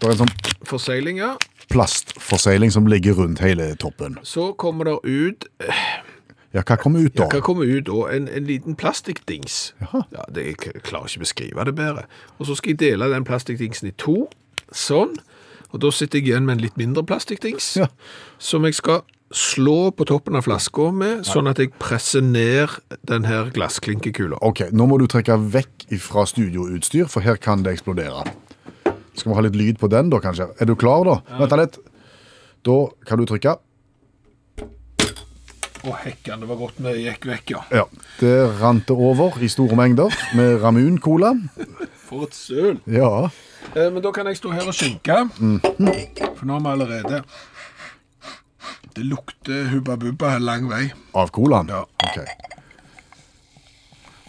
S3: Det er en sånn
S2: Forseglinga.
S3: plastforseiling som ligger rundt hele toppen.
S2: Så kommer det ut
S3: Ja, hva kommer ut da?
S2: Hva kommer ut da? En, en liten plastikkdings.
S3: Jaha.
S2: Ja, det, jeg k- klarer ikke å beskrive det bedre. Og så skal jeg dele den plastikkdingsen i to. Sånn. Og da sitter jeg igjen med en litt mindre plastikkdings,
S3: Ja.
S2: som jeg skal slå på toppen av flaska med, sånn at jeg presser ned den her glassklinkekula.
S3: Ok, nå må du trekke vekk fra studioutstyr, for her kan det eksplodere. Skal vi ha litt lyd på den da, kanskje? Er du klar da? Vent litt. Da kan du trykke.
S2: Å, hekken, det var godt vi gikk vekk, ja.
S3: Ja. Det rant det over i store mengder med Ramun-cola.
S2: For et søl.
S3: Ja.
S2: Eh, Men da kan jeg stå her og skynke.
S3: Mhm.
S2: For nå har vi allerede Det lukter Hubba Bubba lang vei.
S3: Av colaen?
S2: Ja.
S3: Ok.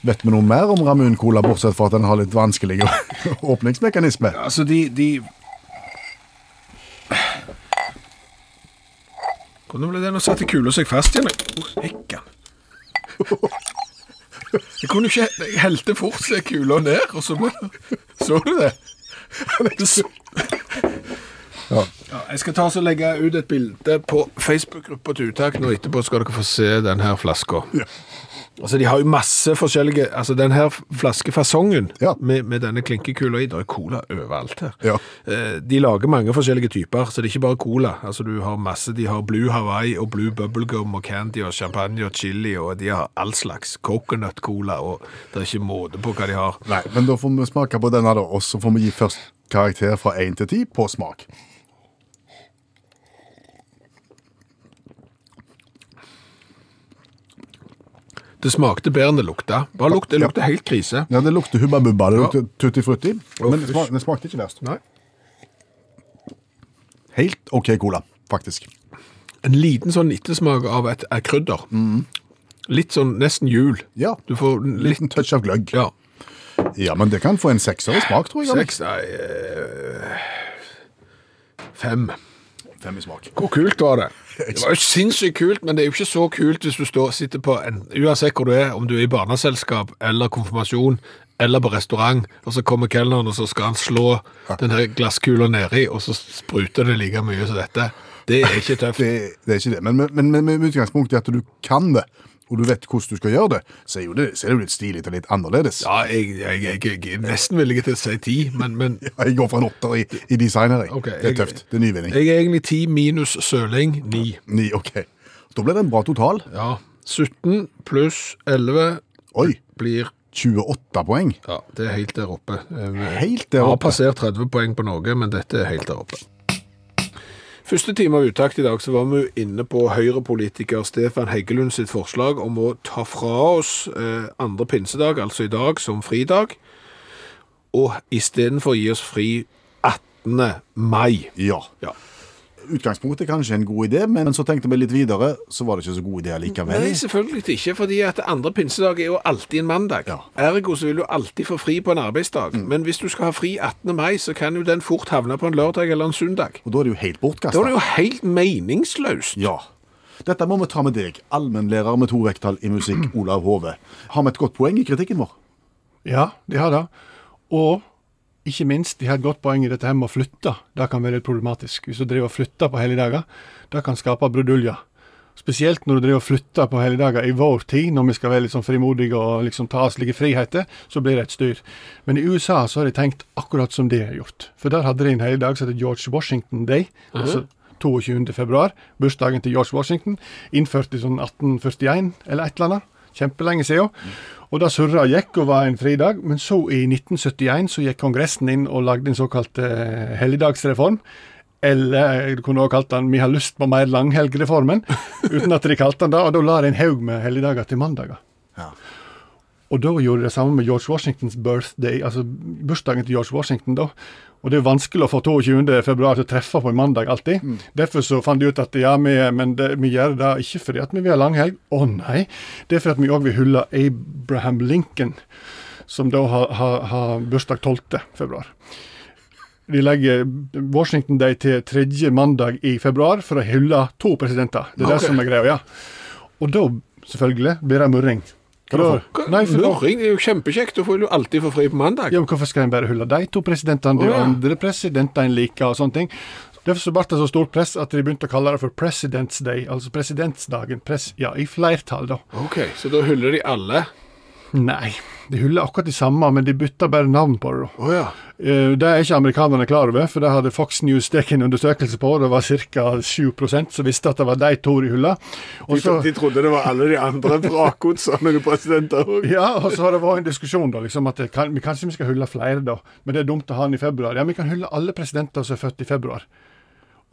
S3: Vet vi noe mer om Ramun-cola, bortsett fra at den har litt vanskelig å- åpningsmekanisme?
S2: Altså, de, de... Hvordan ble det nå satte kula seg fast igjen? Å, Hekkan. Jeg kunne ikke Jeg helte fort se kula ned, og så ble Så du det? Det så-
S3: Ja.
S2: Ja, jeg skal ta og så legge ut et bilde på Facebook-gruppa til Utakt nå etterpå, skal dere få se den her flaska. Altså, De har jo masse forskjellige altså Den her flaskefasongen
S3: Ja.
S2: med, med denne klinkekula i, det er cola overalt her.
S3: Ja.
S2: Eh, de lager mange forskjellige typer, så det er ikke bare cola. Altså Du har masse, de har Blue Hawaii og Blue Bubblegum og Candy og champagne og chili, og de har all slags coconut-cola, og det er ikke måte på hva de har.
S3: Nei, men da får vi smake på denne, da, og så får vi gi først karakter fra 1 til 10 på smak.
S2: Det smakte bedre enn det lukta. Bare lukt, det
S3: Ja.
S2: lukter helt krise.
S3: Ja, Det lukter Hubba Bubba, det lukter Tutti Frutti,
S2: Å,
S3: men det, sma
S2: fysj.
S3: det smakte ikke verst.
S2: Nei.
S3: Helt OK cola, faktisk.
S2: En liten sånn ettersmak av et, et krydder. Litt sånn nesten jul.
S3: Mm. Ja,
S2: Du får litt
S3: liten touch av gløgg.
S2: Ja.
S3: Ja, men det kan få en sekser i smak, tror jeg.
S2: Seks, nei eh, Fem.
S3: Fem i smak.
S2: Hvor kult var det? Det var jo sinnssykt kult, men det er jo ikke så kult hvis du står, sitter på en, Uansett hvor du er, om du er i barneselskap eller konfirmasjon eller på restaurant, og så kommer kelneren, og så skal han slå den her glasskula nedi, og så spruter det like mye som dette. Det er ikke tøft.
S3: Det, det er ikke det, men, men, men, men med utgangspunkt i at du kan det, og du vet hvordan du skal gjøre det, så er, jo det, så er det jo litt stilig og litt annerledes.
S2: Ja, jeg, jeg, jeg, jeg er nesten villig til å si ti, men, men
S3: Jeg går for en åtter i, i design her. jeg.
S2: Ok,
S3: det er
S2: jeg-
S3: tøft. Det er nyvinning.
S2: jeg er egentlig ti minus søling, ni.
S3: Ni, ok. Da ble det en bra total.
S2: Ja. 17 pluss 11
S3: Oi,
S2: blir
S3: 28 poeng.
S2: Ja, det er helt der oppe. Eh,
S3: Helt der
S2: Har
S3: oppe.
S2: passert 30 poeng på Norge, men dette er helt der oppe. Første time av uttakt i dag så var vi jo inne på Høyre-politiker Stefan Heggelund sitt forslag om å ta fra oss eh, andre pinsedag, altså i dag, som fridag, og istedenfor gi oss fri 18. mai.
S3: Ja.
S2: Ja.
S3: Utgangspunktet er kanskje en god idé, men så tenkte vi litt videre, så var det ikke så god idé likevel.
S2: Nei, selvfølgelig ikke, fordi at andre pinsedag er jo alltid en mandag.
S3: Ja.
S2: Ergo så vil du alltid få fri på en arbeidsdag. Men hvis du skal ha fri 18. mai, så kan jo den fort havne på en lørdag eller en søndag.
S3: Og da er det jo helt
S2: Da er det
S3: bortkasta.
S2: jo helt meningsløst.
S3: Ja. Dette må vi ta med deg, allmennlærer med to vekttall i musikk, Olav Hove. Har vi et godt poeng i kritikken vår?
S5: Ja, de har det. Og ikke minst, de har et godt poeng i dette her med å flytte. Det kan være litt problematisk. Hvis du driver og flytter på helligdager, det kan skape bruduljer. Spesielt når du driver og flytter på helligdager i vår tid, når vi skal være litt sånn frimodige og liksom ta oss slike friheter, så blir det et styr. Men i USA så har de tenkt akkurat som de har gjort. For der hadde de en helligdag som heter George Washington Day. altså 22. februar, bursdagen til George Washington, innført i sånn 1841 eller et eller annet. kjempelenge siden. Og det surra og gikk og var en fridag, men så i 1971 så gikk Kongressen inn og lagde en såkalt eh, helligdagsreform. Eller du kunne også kalt den 'Vi har lyst på mer langhelgreformen', uten at de kalte den det. Og da la de en haug med helligdager til mandager.
S3: Ja.
S5: Og da gjorde de det samme med George Washingtons birthday, altså bursdagen til George Washington, da. Og det er jo vanskelig å få 22. februar til å treffe på en mandag alltid. Derfor så fant de ut at ja, vi, men det, vi gjør det ikke fordi at vi vil ha langhelg. Å nei, det er fordi at vi òg vil hylle Abraham Lincoln, som da har, har, har bursdag 12. februar. De legger Washington Day til tredje mandag i februar for å hylle to presidenter. Det er
S3: Ok.
S5: det som er greia, ja. Og da, selvfølgelig, blir det murring.
S3: Hva da for?
S5: Da- Nei, for da
S2: Murring det er jo kjempekjekt, da får du alltid få fri på mandag.
S5: ja, men Hvorfor skal en bare hylle de to presidentene? Det er
S2: Å,
S5: jo
S2: ja.
S5: andre presidenter en liker, og sånne ting. Derfor så ble det så stort press at de begynte å kalle det for President's Day, altså presidentsdagen. Press, ja, I flertall, da.
S2: Ok, Så da hyller de alle.
S5: Nei, de hyller akkurat de samme, men de bytter bare navn på det. da.
S2: Å ja.
S5: Eh, Det er ikke amerikanerne klar over, for det hadde Fox News stekt en undersøkelse på, og det var ca. 7 som visste at det var de to de hylla. Og så-
S2: trodde det var alle de andre vrakgodsene og presidenter òg.
S5: Ja, og så har det vært en diskusjon da, liksom at det kan, vi kanskje vi skal hylle flere, da, men det er dumt å ha den i februar. Ja, vi kan hylle alle presidenter som er født i februar.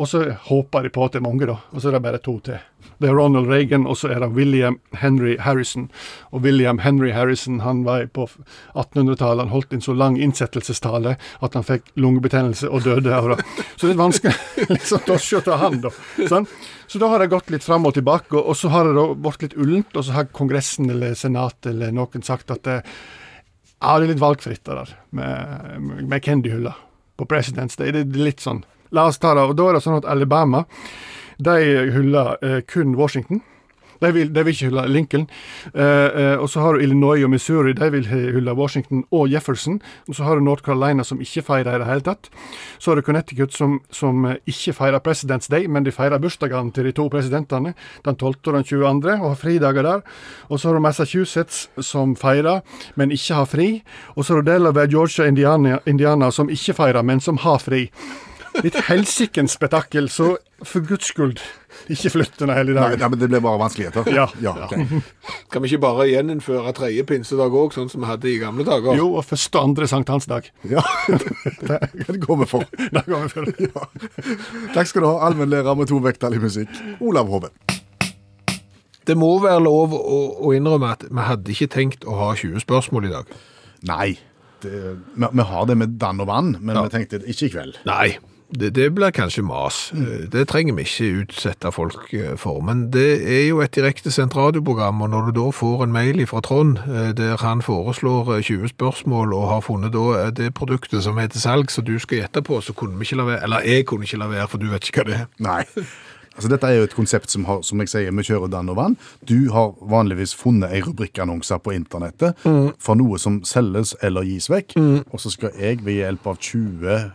S5: Og så håper de på at det er mange, da. Og så er det bare to til. Det er Ronald Reagan, og så er det William Henry Harrison. Og William Henry Harrison han var på 1800-tallet. Han holdt en så lang innsettelsestale at han fikk lungebetennelse og døde av det. Så det er vanskelig liksom, da å se til han, da. Sånn? Så da har det gått litt fram og tilbake, og, og så har det da vært litt ullent. Og så har Kongressen eller Senatet eller noen sagt at eh, det, ja, det er litt valgfritt det der med, med Candy-hylla på Presidents Day. Det er litt sånn. La oss ta det. Og da er det sånn at Alabama de hyller eh, kun Washington. De vil, de vil ikke hylle Lincoln. Eh, eh, og så har du Illinois og Missouri, de vil hylle Washington og Jefferson. Og så har du North Carolina, som ikke feirer i det hele tatt. Så har du Connecticut, som, som eh, ikke feirer Presidents Day, men de feirer bursdagene til de to presidentene, den 12. og den 22., og har fridager der. Og så har du Massachusetts, som feirer, men ikke har fri. Og så har du Delaware, Georgia, Indiana, Indiana som ikke feirer, men som har fri. Litt helsikens spetakkel, så for guds skyld, ikke flytt denne
S3: Nei,
S5: helligdagen.
S3: nei, men det ble bare vanskeligheter.
S5: Ja.
S3: ok.
S2: Kan vi ikke bare gjeninnføre tredje pinsedag òg, sånn som vi hadde i gamle dager?
S5: Jo, og første og andre sankthansdag.
S3: ja. Det, det går vi for.
S5: Det går vi for.
S3: Takk skal du ha, allmennlærer med to vekttall i musikk, Olav Hove.
S2: Det må være lov å, å innrømme at vi hadde ikke tenkt å ha 20 spørsmål i dag.
S3: Nei. Det, vi, vi har det med dann og vann, men
S2: Ja.
S3: vi tenkte ikke i kveld.
S2: Nei, det, det blir kanskje mas. Eh, Det trenger vi ikke utsette folk eh, for. Men det er jo et direktesendt radioprogram, og når du da får en mail fra Trond eh, der han foreslår eh, 20 spørsmål og har funnet da eh, det produktet som er til salg, som du skal gjette på, så kunne vi ikke la være. Eller jeg kunne ikke la være, for du vet ikke hva det er.
S3: Nei. Altså, dette er jo et konsept som har, som jeg sier, vi kjører dann og vann. Du har vanligvis funnet ei rubrikkannonse på internettet
S5: Mm.
S3: for noe som selges eller gis vekk, og så skal jeg ved hjelp av 20 eh,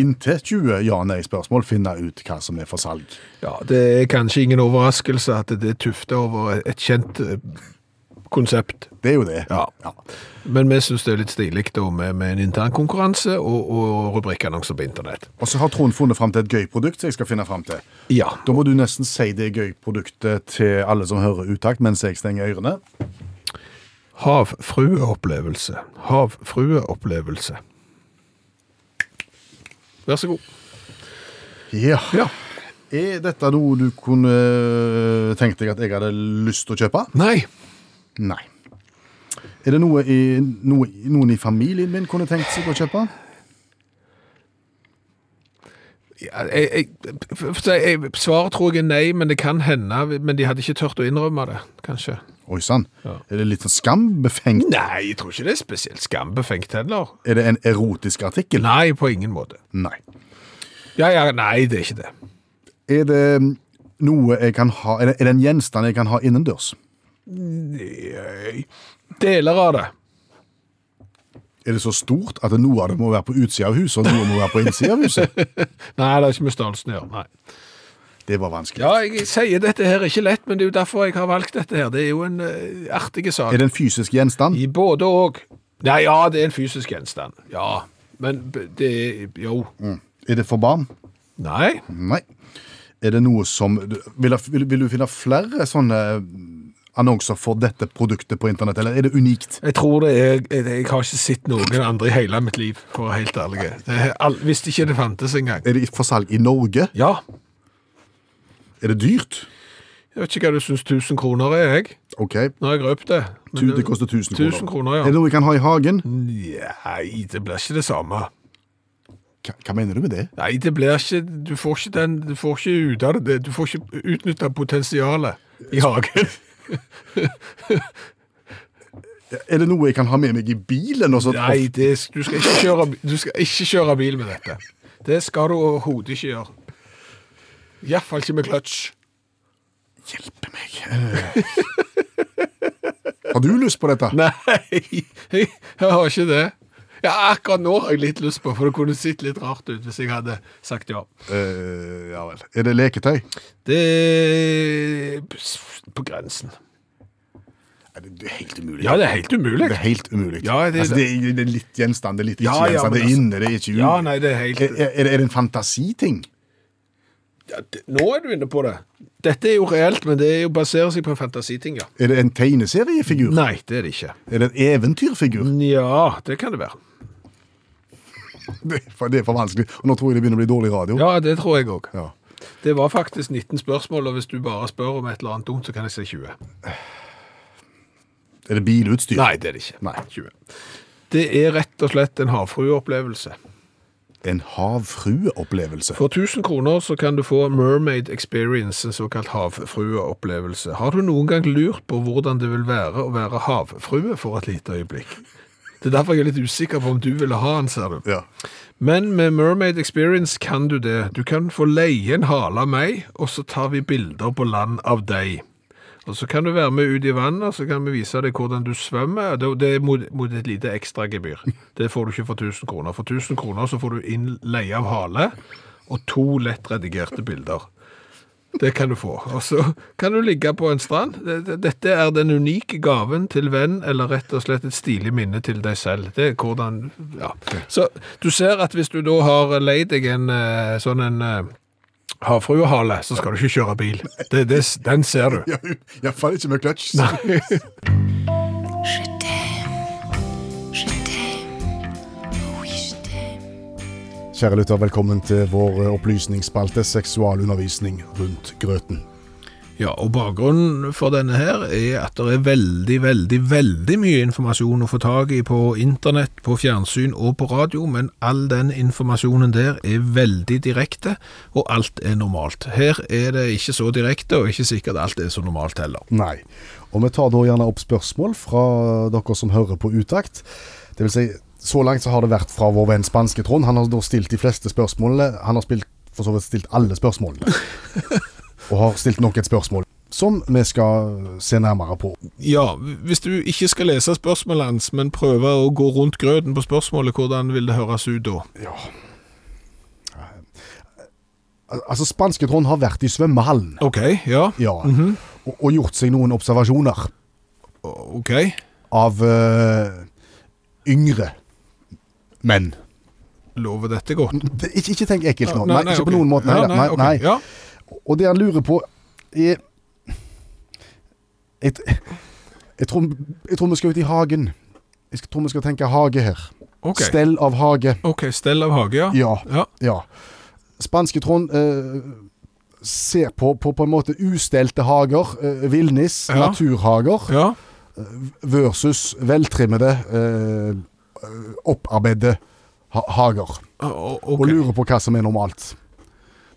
S3: Inntil 20 ja-nei-spørsmål finne ut hva som er for salg.
S2: Ja, det er kanskje ingen overraskelse at det tufter over et kjent eh, konsept.
S3: Det er jo det.
S2: Ja. Men vi syns det er litt stilig da med, med en internkonkurranse og, og rubrikkannonser på internett.
S3: Og så har Trond funnet fram til et gøy produkt som jeg skal finne fram til.
S2: Ja.
S3: Da må du nesten si det gøy produktet til alle som hører utakt mens jeg stenger ørene.
S2: Havfrueopplevelse. Havfrueopplevelse. Vær så god.
S3: Ja.
S2: Ja.
S3: Er dette noe du kunne tenkt deg at jeg hadde lyst til å kjøpe?
S2: Nei.
S3: Nei. Er det noe, i, noe noen i familien min kunne tenkt seg å kjøpe?
S2: Ja, Jeg, jeg, for å si- jeg, svaret tror jeg er nei, men det kan hende. Men de hadde ikke tørt å innrømme det, kanskje.
S3: Oi sann.
S2: Ja.
S3: Er det litt sånn skambefengt?
S2: Nei, jeg tror ikke det er spesielt skambefengt heller.
S3: Er det en erotisk artikkel?
S2: Nei, på ingen måte.
S3: Nei.
S2: Ja, ja, nei, det er ikke det.
S3: Er det mm, noe jeg kan ha Er det, er det en gjenstand jeg kan ha innendørs?
S2: Nei. Deler av det.
S3: Er det så stort at noe av det må være på utsida av huset, og noe må være på innsida av huset?
S2: Nei, det er ikke med størrelsen å gjøre. Nei.
S3: Det var vanskelig.
S2: Ja, jeg sier dette her er ikke lett, men det er jo derfor jeg har valgt dette her. Det er jo en eh, artig sak.
S3: Er det en fysisk gjenstand?
S2: I både og. Nei, ja, det er en fysisk gjenstand. Ja, men b- det er Jo.
S3: Er det for barn?
S2: Nei.
S3: Nei. Er det noe som Vil, vil, vil du finne flere sånne eh, annonser for dette produktet på internett, eller er det unikt?
S2: Jeg tror det er Jeg, jeg har ikke sett noen andre i hele mitt liv, for å være helt ærlig. Det er all- Hvis ikke det fantes engang.
S3: Er det for salg i Norge?
S2: Ja.
S3: Er det dyrt?
S2: Jeg vet ikke hva du syns 1000 kroner er, jeg.
S3: Ok,
S2: Nå har jeg røpt det. Men
S3: tu- det koster 1000 kroner.
S2: 1000 kroner, ja.
S3: Er det noe vi kan ha i hagen?
S2: Nei, det blir ikke det samme.
S3: Hva, hva mener du med det?
S2: Nei, det blir ikke Du får ikke den Du får ikke ut av det. Du får ikke utnytta potensialet i hagen.
S3: Er det noe jeg kan ha med meg i bilen? Og sånt?
S2: Nei, det, du, skal ikke kjøre, du skal ikke kjøre bil med dette. Det skal du overhodet ikke gjøre. Iallfall ikke med kløtsj.
S3: Hjelpe meg. Eh. Har du lyst på dette?
S2: Nei, jeg har ikke det. Ja, Akkurat nå har jeg litt lyst på, for det kunne sett litt rart ut hvis jeg hadde sagt ja.
S3: Eh, ja vel. Er det leketøy?
S2: Det er på grensen.
S3: Nei, Det det er helt umulig.
S2: Ja, det er helt umulig.
S3: Det er helt umulig.
S2: Ja, det-
S3: altså, det, er, det er litt gjenstand, det er litt ikke
S2: Ja, ja,
S3: gjenstand, det
S2: men
S3: er
S2: altså-
S3: inne, det er ikke
S2: Ja, nei, det er helt
S3: Er, er, er det en fantasiting?
S2: ja, det, Nå er du inne på det. Dette er jo reelt, men det er jo baserer seg på en fantasiting, ja.
S3: Er det en tegneseriefigur?
S2: Nei, det er det ikke.
S3: Er det en eventyrfigur?
S2: Nja, det kan det være.
S3: Det er for, det er for vanskelig. Og nå tror jeg det begynner å bli dårlig radio.
S2: Mm. Ja, det tror jeg òg.
S3: Ja.
S2: Det var faktisk 19 spørsmål, og hvis du bare spør om et eller annet dumt, så kan jeg si 20.
S3: Er det bilutstyr?
S2: Nei, det er det ikke.
S3: Nei.
S2: 20. Det er rett og slett en havfrueopplevelse.
S3: En havfrueopplevelse?
S2: For 1000 kroner så kan du få Mermaid Experience, en såkalt havfrueopplevelse. Har du noen gang lurt på hvordan det vil være å være havfrue for et lite øyeblikk? Det er derfor jeg er litt usikker på om du ville ha den, ser du.
S3: Ja.
S2: Men med Mermaid Experience kan du det. Du kan få leie en hale av meg, og så tar vi bilder på land av deg. Og så kan du være med ut i vannet, og så kan vi vise deg hvordan du svømmer. Det, det er mot, mot et lite ekstra gebyr. Det får du ikke for 1000 kroner. For 1000 kroner så får du inn leie av hale og to lett redigerte bilder. Det kan du få. Og så kan du ligge på en strand. Det- det- Dette er den unike gaven til venn, eller rett og slett et stilig minne til deg selv. Det er hvordan Ja. Så du ser at hvis du da har leid deg en eh, sånn en eh, havfruehale, så skal du ikke kjøre bil. Det, det, den ser du.
S3: Ja, Iallfall ikke med kløtsj. Kjære lytter, velkommen til vår opplysningsspalte Seksualundervisning rundt grøten.
S2: Ja, og bakgrunnen for denne her er at det er veldig, veldig, veldig mye informasjon å få tak i på internett, på fjernsyn og på radio, men all den informasjonen der er veldig direkte, og alt er normalt. Her er det ikke så direkte, og ikke sikkert alt er så normalt heller.
S3: Nei. Og vi tar da gjerne opp spørsmål fra dere som hører på Utakt. Det vil si, så langt så har det vært fra vår venn Spanske Trond. Han har da stilt de fleste spørsmålene. Han har spilt, for så vidt stilt alle spørsmålene. Og har stilt nok et spørsmål som vi skal se nærmere på.
S2: Ja, hvis du ikke skal lese spørsmålet hans, men prøve å gå rundt grøten på spørsmålet, hvordan vil det høres ut da?
S3: Ja. Al- Altså, Spanske Trond har vært i svømmehallen.
S2: Ok, ja,
S3: Ja. og, og gjort seg noen observasjoner
S2: ok.
S3: av eh, yngre menn.
S2: Lover dette godt?
S3: Det- Ikke, ikke tenk ekkelt nå. Nei, ikke
S2: ok.
S3: på noen måte. Nei,
S2: Ja,
S3: da. nei,
S2: ok,
S3: nei.
S2: Ja,
S3: Og det han lurer på er jeg, jeg, tror, jeg tror vi skal ut i hagen. Jeg skal- tror vi skal tenke hage her.
S2: ok.
S3: Stell av hage.
S2: Ok, stell av hage, ja.
S3: Ja.
S2: Ja,
S3: ja. Spanske Trond eh, ser på, på på en måte ustelte hager, eh, villnis,
S2: Ja.
S3: naturhager,
S2: ja.
S3: versus veltrimmede, eh, opparbeidede ha hager.
S2: O-
S3: og
S2: ok.
S3: lurer på hva som er normalt.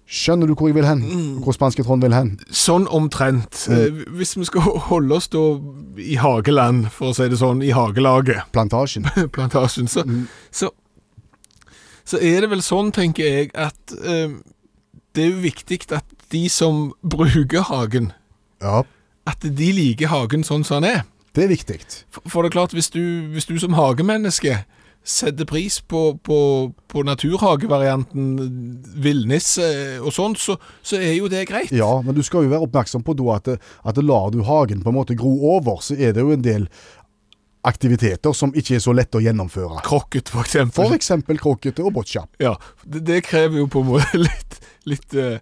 S3: Skjønner du hvor jeg vil hen?
S2: Mm.
S3: Hvor spanske Trond vil hen?
S2: Sånn omtrent. Eh, Hvis vi skal holde oss da i hageland, for å si det sånn, i hagelaget,
S3: Plantasjen.
S2: plantasjen, så, så, så er det vel sånn, tenker jeg, at eh, det er jo viktig at de som bruker hagen,
S3: Ja,
S2: at de liker hagen sånn som den er.
S3: det er viktig.
S2: For, for det er klart, hvis du, hvis du som hagemenneske setter pris på, på, på naturhagevarianten villnis eh, og sånt, så, så er jo det greit.
S3: Ja, men du skal jo være oppmerksom på da at, at lar du hagen på en måte gro over, så er det jo en del aktiviteter som ikke er så lette å gjennomføre.
S2: Krokket, for eksempel.
S3: For eksempel krokkete og boccia.
S2: Ja, det, det krever jo på en måte litt, litt eh,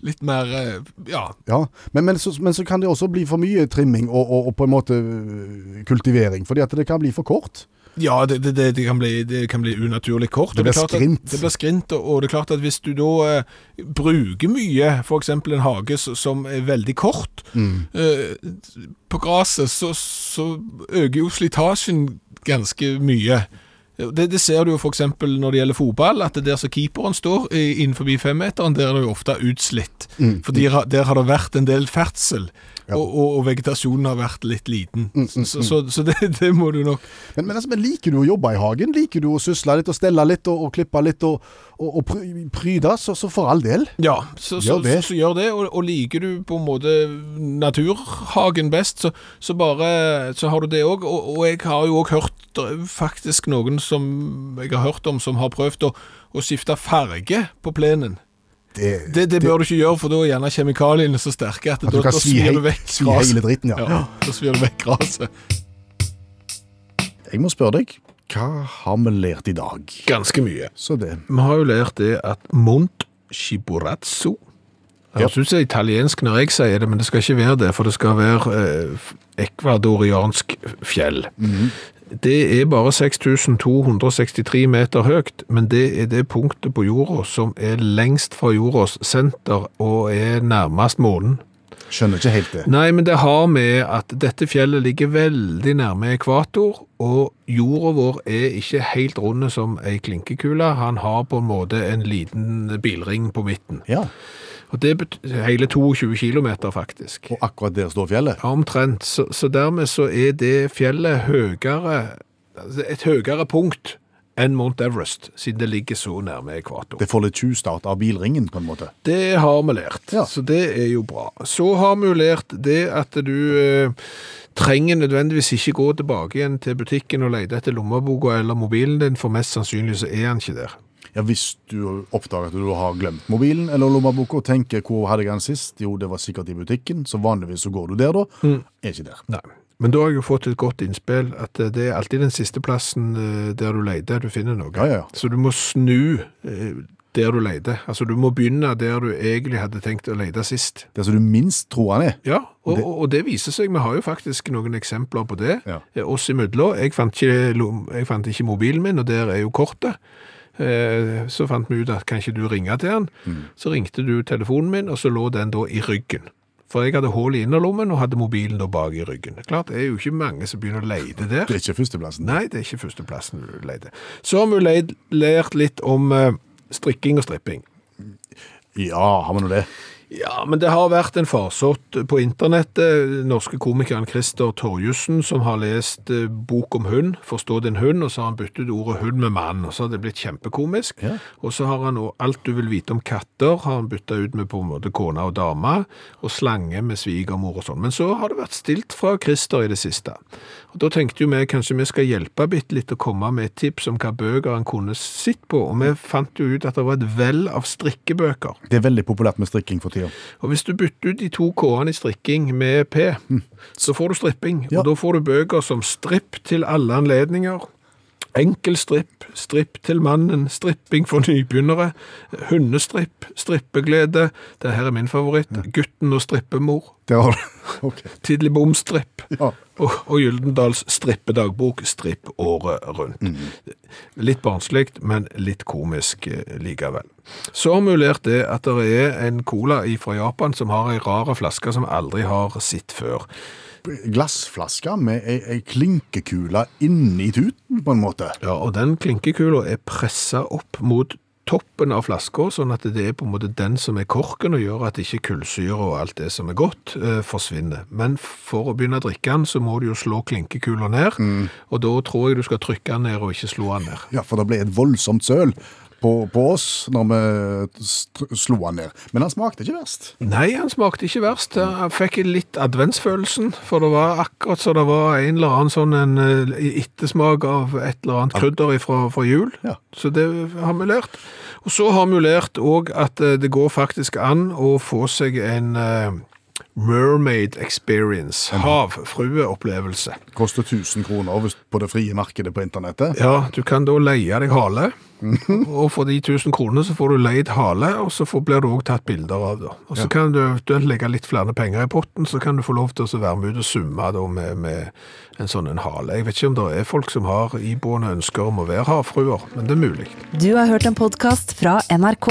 S2: litt mer eh, Ja.
S3: Ja, men, men, så, men så kan det også bli for mye trimming og, og, og på en måte øh, kultivering, fordi at det kan bli for kort.
S2: Ja, det, det, det, det, kan bli, det kan bli unaturlig kort. og
S3: Det blir
S2: er klart at-
S3: skrint.
S2: Det blir skrint, og- og det er klart at hvis du da eh, bruker mye, f.eks. en hage s- som er veldig kort
S3: Mm.
S2: eh, på gresset, så, så øker jo slitasjen ganske mye. Det, det ser du jo f.eks. når det gjelder fotball, at det der som keeperen står i- innenfor femmeteren, der er det jo ofte utslitt.
S3: Mm.
S2: For der, har- der har det vært en del ferdsel, og, og, og vegetasjonen har vært litt liten.
S3: Mm,
S2: så så, så det, det må du nok
S3: Men, men, altså, men liker du å jobbe i hagen? Liker du å sysle litt og stelle litt og, og klippe litt og, og, og pry- pryde, så, så for all del.
S2: Ja, så, så,
S3: Gjør det.
S2: så, så gjør det, og, og liker du på en måte naturhagen best, så, så bare så har du det òg. Og, og jeg har jo òg hørt det er faktisk noen som jeg har hørt om, som har prøvd å, å skifte farge på plenen.
S3: Det-
S2: Det, det bør du ikke gjøre, for da er gjerne kjemikaliene så sterke at,
S3: At du
S2: da,
S3: kan
S2: da
S3: svi
S2: svir
S3: hei-
S2: du vekk
S3: svi hele dritten, ja.
S2: ja. Da svir du vekk gresset.
S3: Jeg må spørre deg, hva har vi lært i dag?
S2: Ganske mye.
S3: Så det.
S2: Vi har jo lært det at mont shiborazzo Jeg
S3: Ja.
S2: synes det er italiensk når jeg sier det, men det skal ikke være det, for det skal være eh, f- ekvadoriansk fjell. Det er bare 6263 meter høyt, men det er det punktet på jorda som er lengst fra jordas senter og er nærmest månen.
S3: Skjønner ikke helt det.
S2: Nei, men det har med at dette fjellet ligger veldig nærme ekvator, og jorda vår er ikke helt runde som ei klinkekule. Han har på en måte en liten bilring på midten.
S3: Ja,
S2: Og det betyr hele 22 kilometer, faktisk.
S3: og akkurat der står fjellet.
S2: Omtrent. Så, så dermed så er det fjellet høyere, altså et høyere punkt enn Mount Everest, siden det ligger så nærme ekvator.
S3: Det får litt tjuvstart av bilringen, på en måte.
S2: Det har vi lært,
S3: Ja.
S2: så det er jo bra. Så har vi jo lært det at du eh, trenger nødvendigvis ikke gå tilbake igjen til butikken og lete etter lommeboka eller mobilen din, for mest sannsynlig så er han ikke der.
S3: Ja, Hvis du oppdager at du har glemt mobilen eller lommeboka og tenker 'hvor hadde jeg den sist', jo, det var sikkert i butikken, så vanligvis så går du der, da. Er ikke der.
S2: Nei. Men da har jeg jo fått et godt innspill, at eh, det er alltid den siste plassen eh, der du leter, du finner noe.
S3: Ja, ja, ja.
S2: Så du må snu eh, der du leter. Altså du må begynne der du egentlig hadde tenkt å lete sist.
S3: Det som du minst tror han er.
S2: Ja, og det, og og det viser seg. Vi har jo faktisk noen eksempler på det.
S3: Ja.
S2: Eh, Oss imellom. Jeg, fant ikke lom- jeg fant ikke mobilen min, og der er jo kortet. Eh, Så fant vi ut at kan ikke du ringe til han?
S3: Mm.
S2: Så ringte du telefonen min, og så lå den da i ryggen. For jeg hadde hull i innerlommen og hadde mobilen da bak i ryggen. Klart, det er jo ikke mange som begynner å leide der.
S3: Det er ikke førsteplassen.
S2: Nei, det er ikke førsteplassen du leide. Så har vi jo leid- lært litt om eh, strikking og stripping.
S3: Ja, har vi nå det?
S2: Ja, men det har vært en farsott på internettet. Norske komikeren Christer Torjussen, som har lest eh, bok om hund, forstå din hund, og så har han byttet ut ordet hund med mann, og så har det blitt kjempekomisk.
S3: Ja.
S2: Og så har han også alt du vil vite om katter, har han byttet ut med på en måte kona og dama, og slange med svigermor og sånn. Men så har det vært stilt fra Christer i det siste. Og da tenkte jo vi kanskje vi skal hjelpe bitte litt og komme med et tips om hva bøker han kunne sitt på, og vi fant jo ut at det var et vell av strikkebøker.
S3: Det er veldig populært med strikking for tida.
S2: Og hvis du bytter ut de to K-ene i strikking med P, så får du stripping.
S3: Ja.
S2: Og da får du bøker som stripp til alle anledninger, enkel stripp, stripp til mannen, stripping for nybegynnere, hundestripp, strippeglede, det her er min favoritt, gutten og strippemor,
S3: Det har du. Ok.
S2: tidlig bomstripp,
S3: Ja.
S2: og, og Gyldendals strippedagbok, stripp året rundt. Litt barnslikt, men litt komisk eh, likevel. Så har vi jo lært det at det er en cola fra Japan som har ei rar flaske som aldri har sett før.
S3: Glassflaske med ei, ei klinkekule inni tuten, på en måte.
S2: Ja, og den klinkekula er pressa opp mot toppen av flaska, sånn at det er på en måte den som er korken, og gjør at ikke kullsyre og alt det som er godt, eh, forsvinner. Men for å begynne å drikke den, så må du jo slå klinkekula ned, og da tror jeg du skal trykke den ned og ikke slå den ned.
S3: Ja, for det ble et voldsomt søl på, på oss når vi str- slo han ned. Men han smakte ikke verst.
S2: Nei, han smakte ikke verst. Han fikk litt adventsfølelsen, for det var akkurat så det var en eller annen sånn en eh, ettersmak av et eller annet krydder fra, fra jul.
S3: Ja.
S2: Så det har vi lært. Og så har vi lært òg at eh, det går faktisk an å få seg en eh, Mermaid Experience. Havfrueopplevelse.
S3: Koster 1000 kroner hvis- på det frie markedet på internettet.
S2: Ja, du kan da leie deg hale, og for de 1000 kronene så får du leid hale, og så får, blir du også tatt bilder av det. Og så kan du, du legge litt flere penger i potten, så kan du få lov til å være med ut og summe da med, med en sånn en hale. Jeg vet ikke om det er folk som har iboende ønsker om å være havfruer, men det er mulig.
S1: Du har hørt en podkast fra NRK.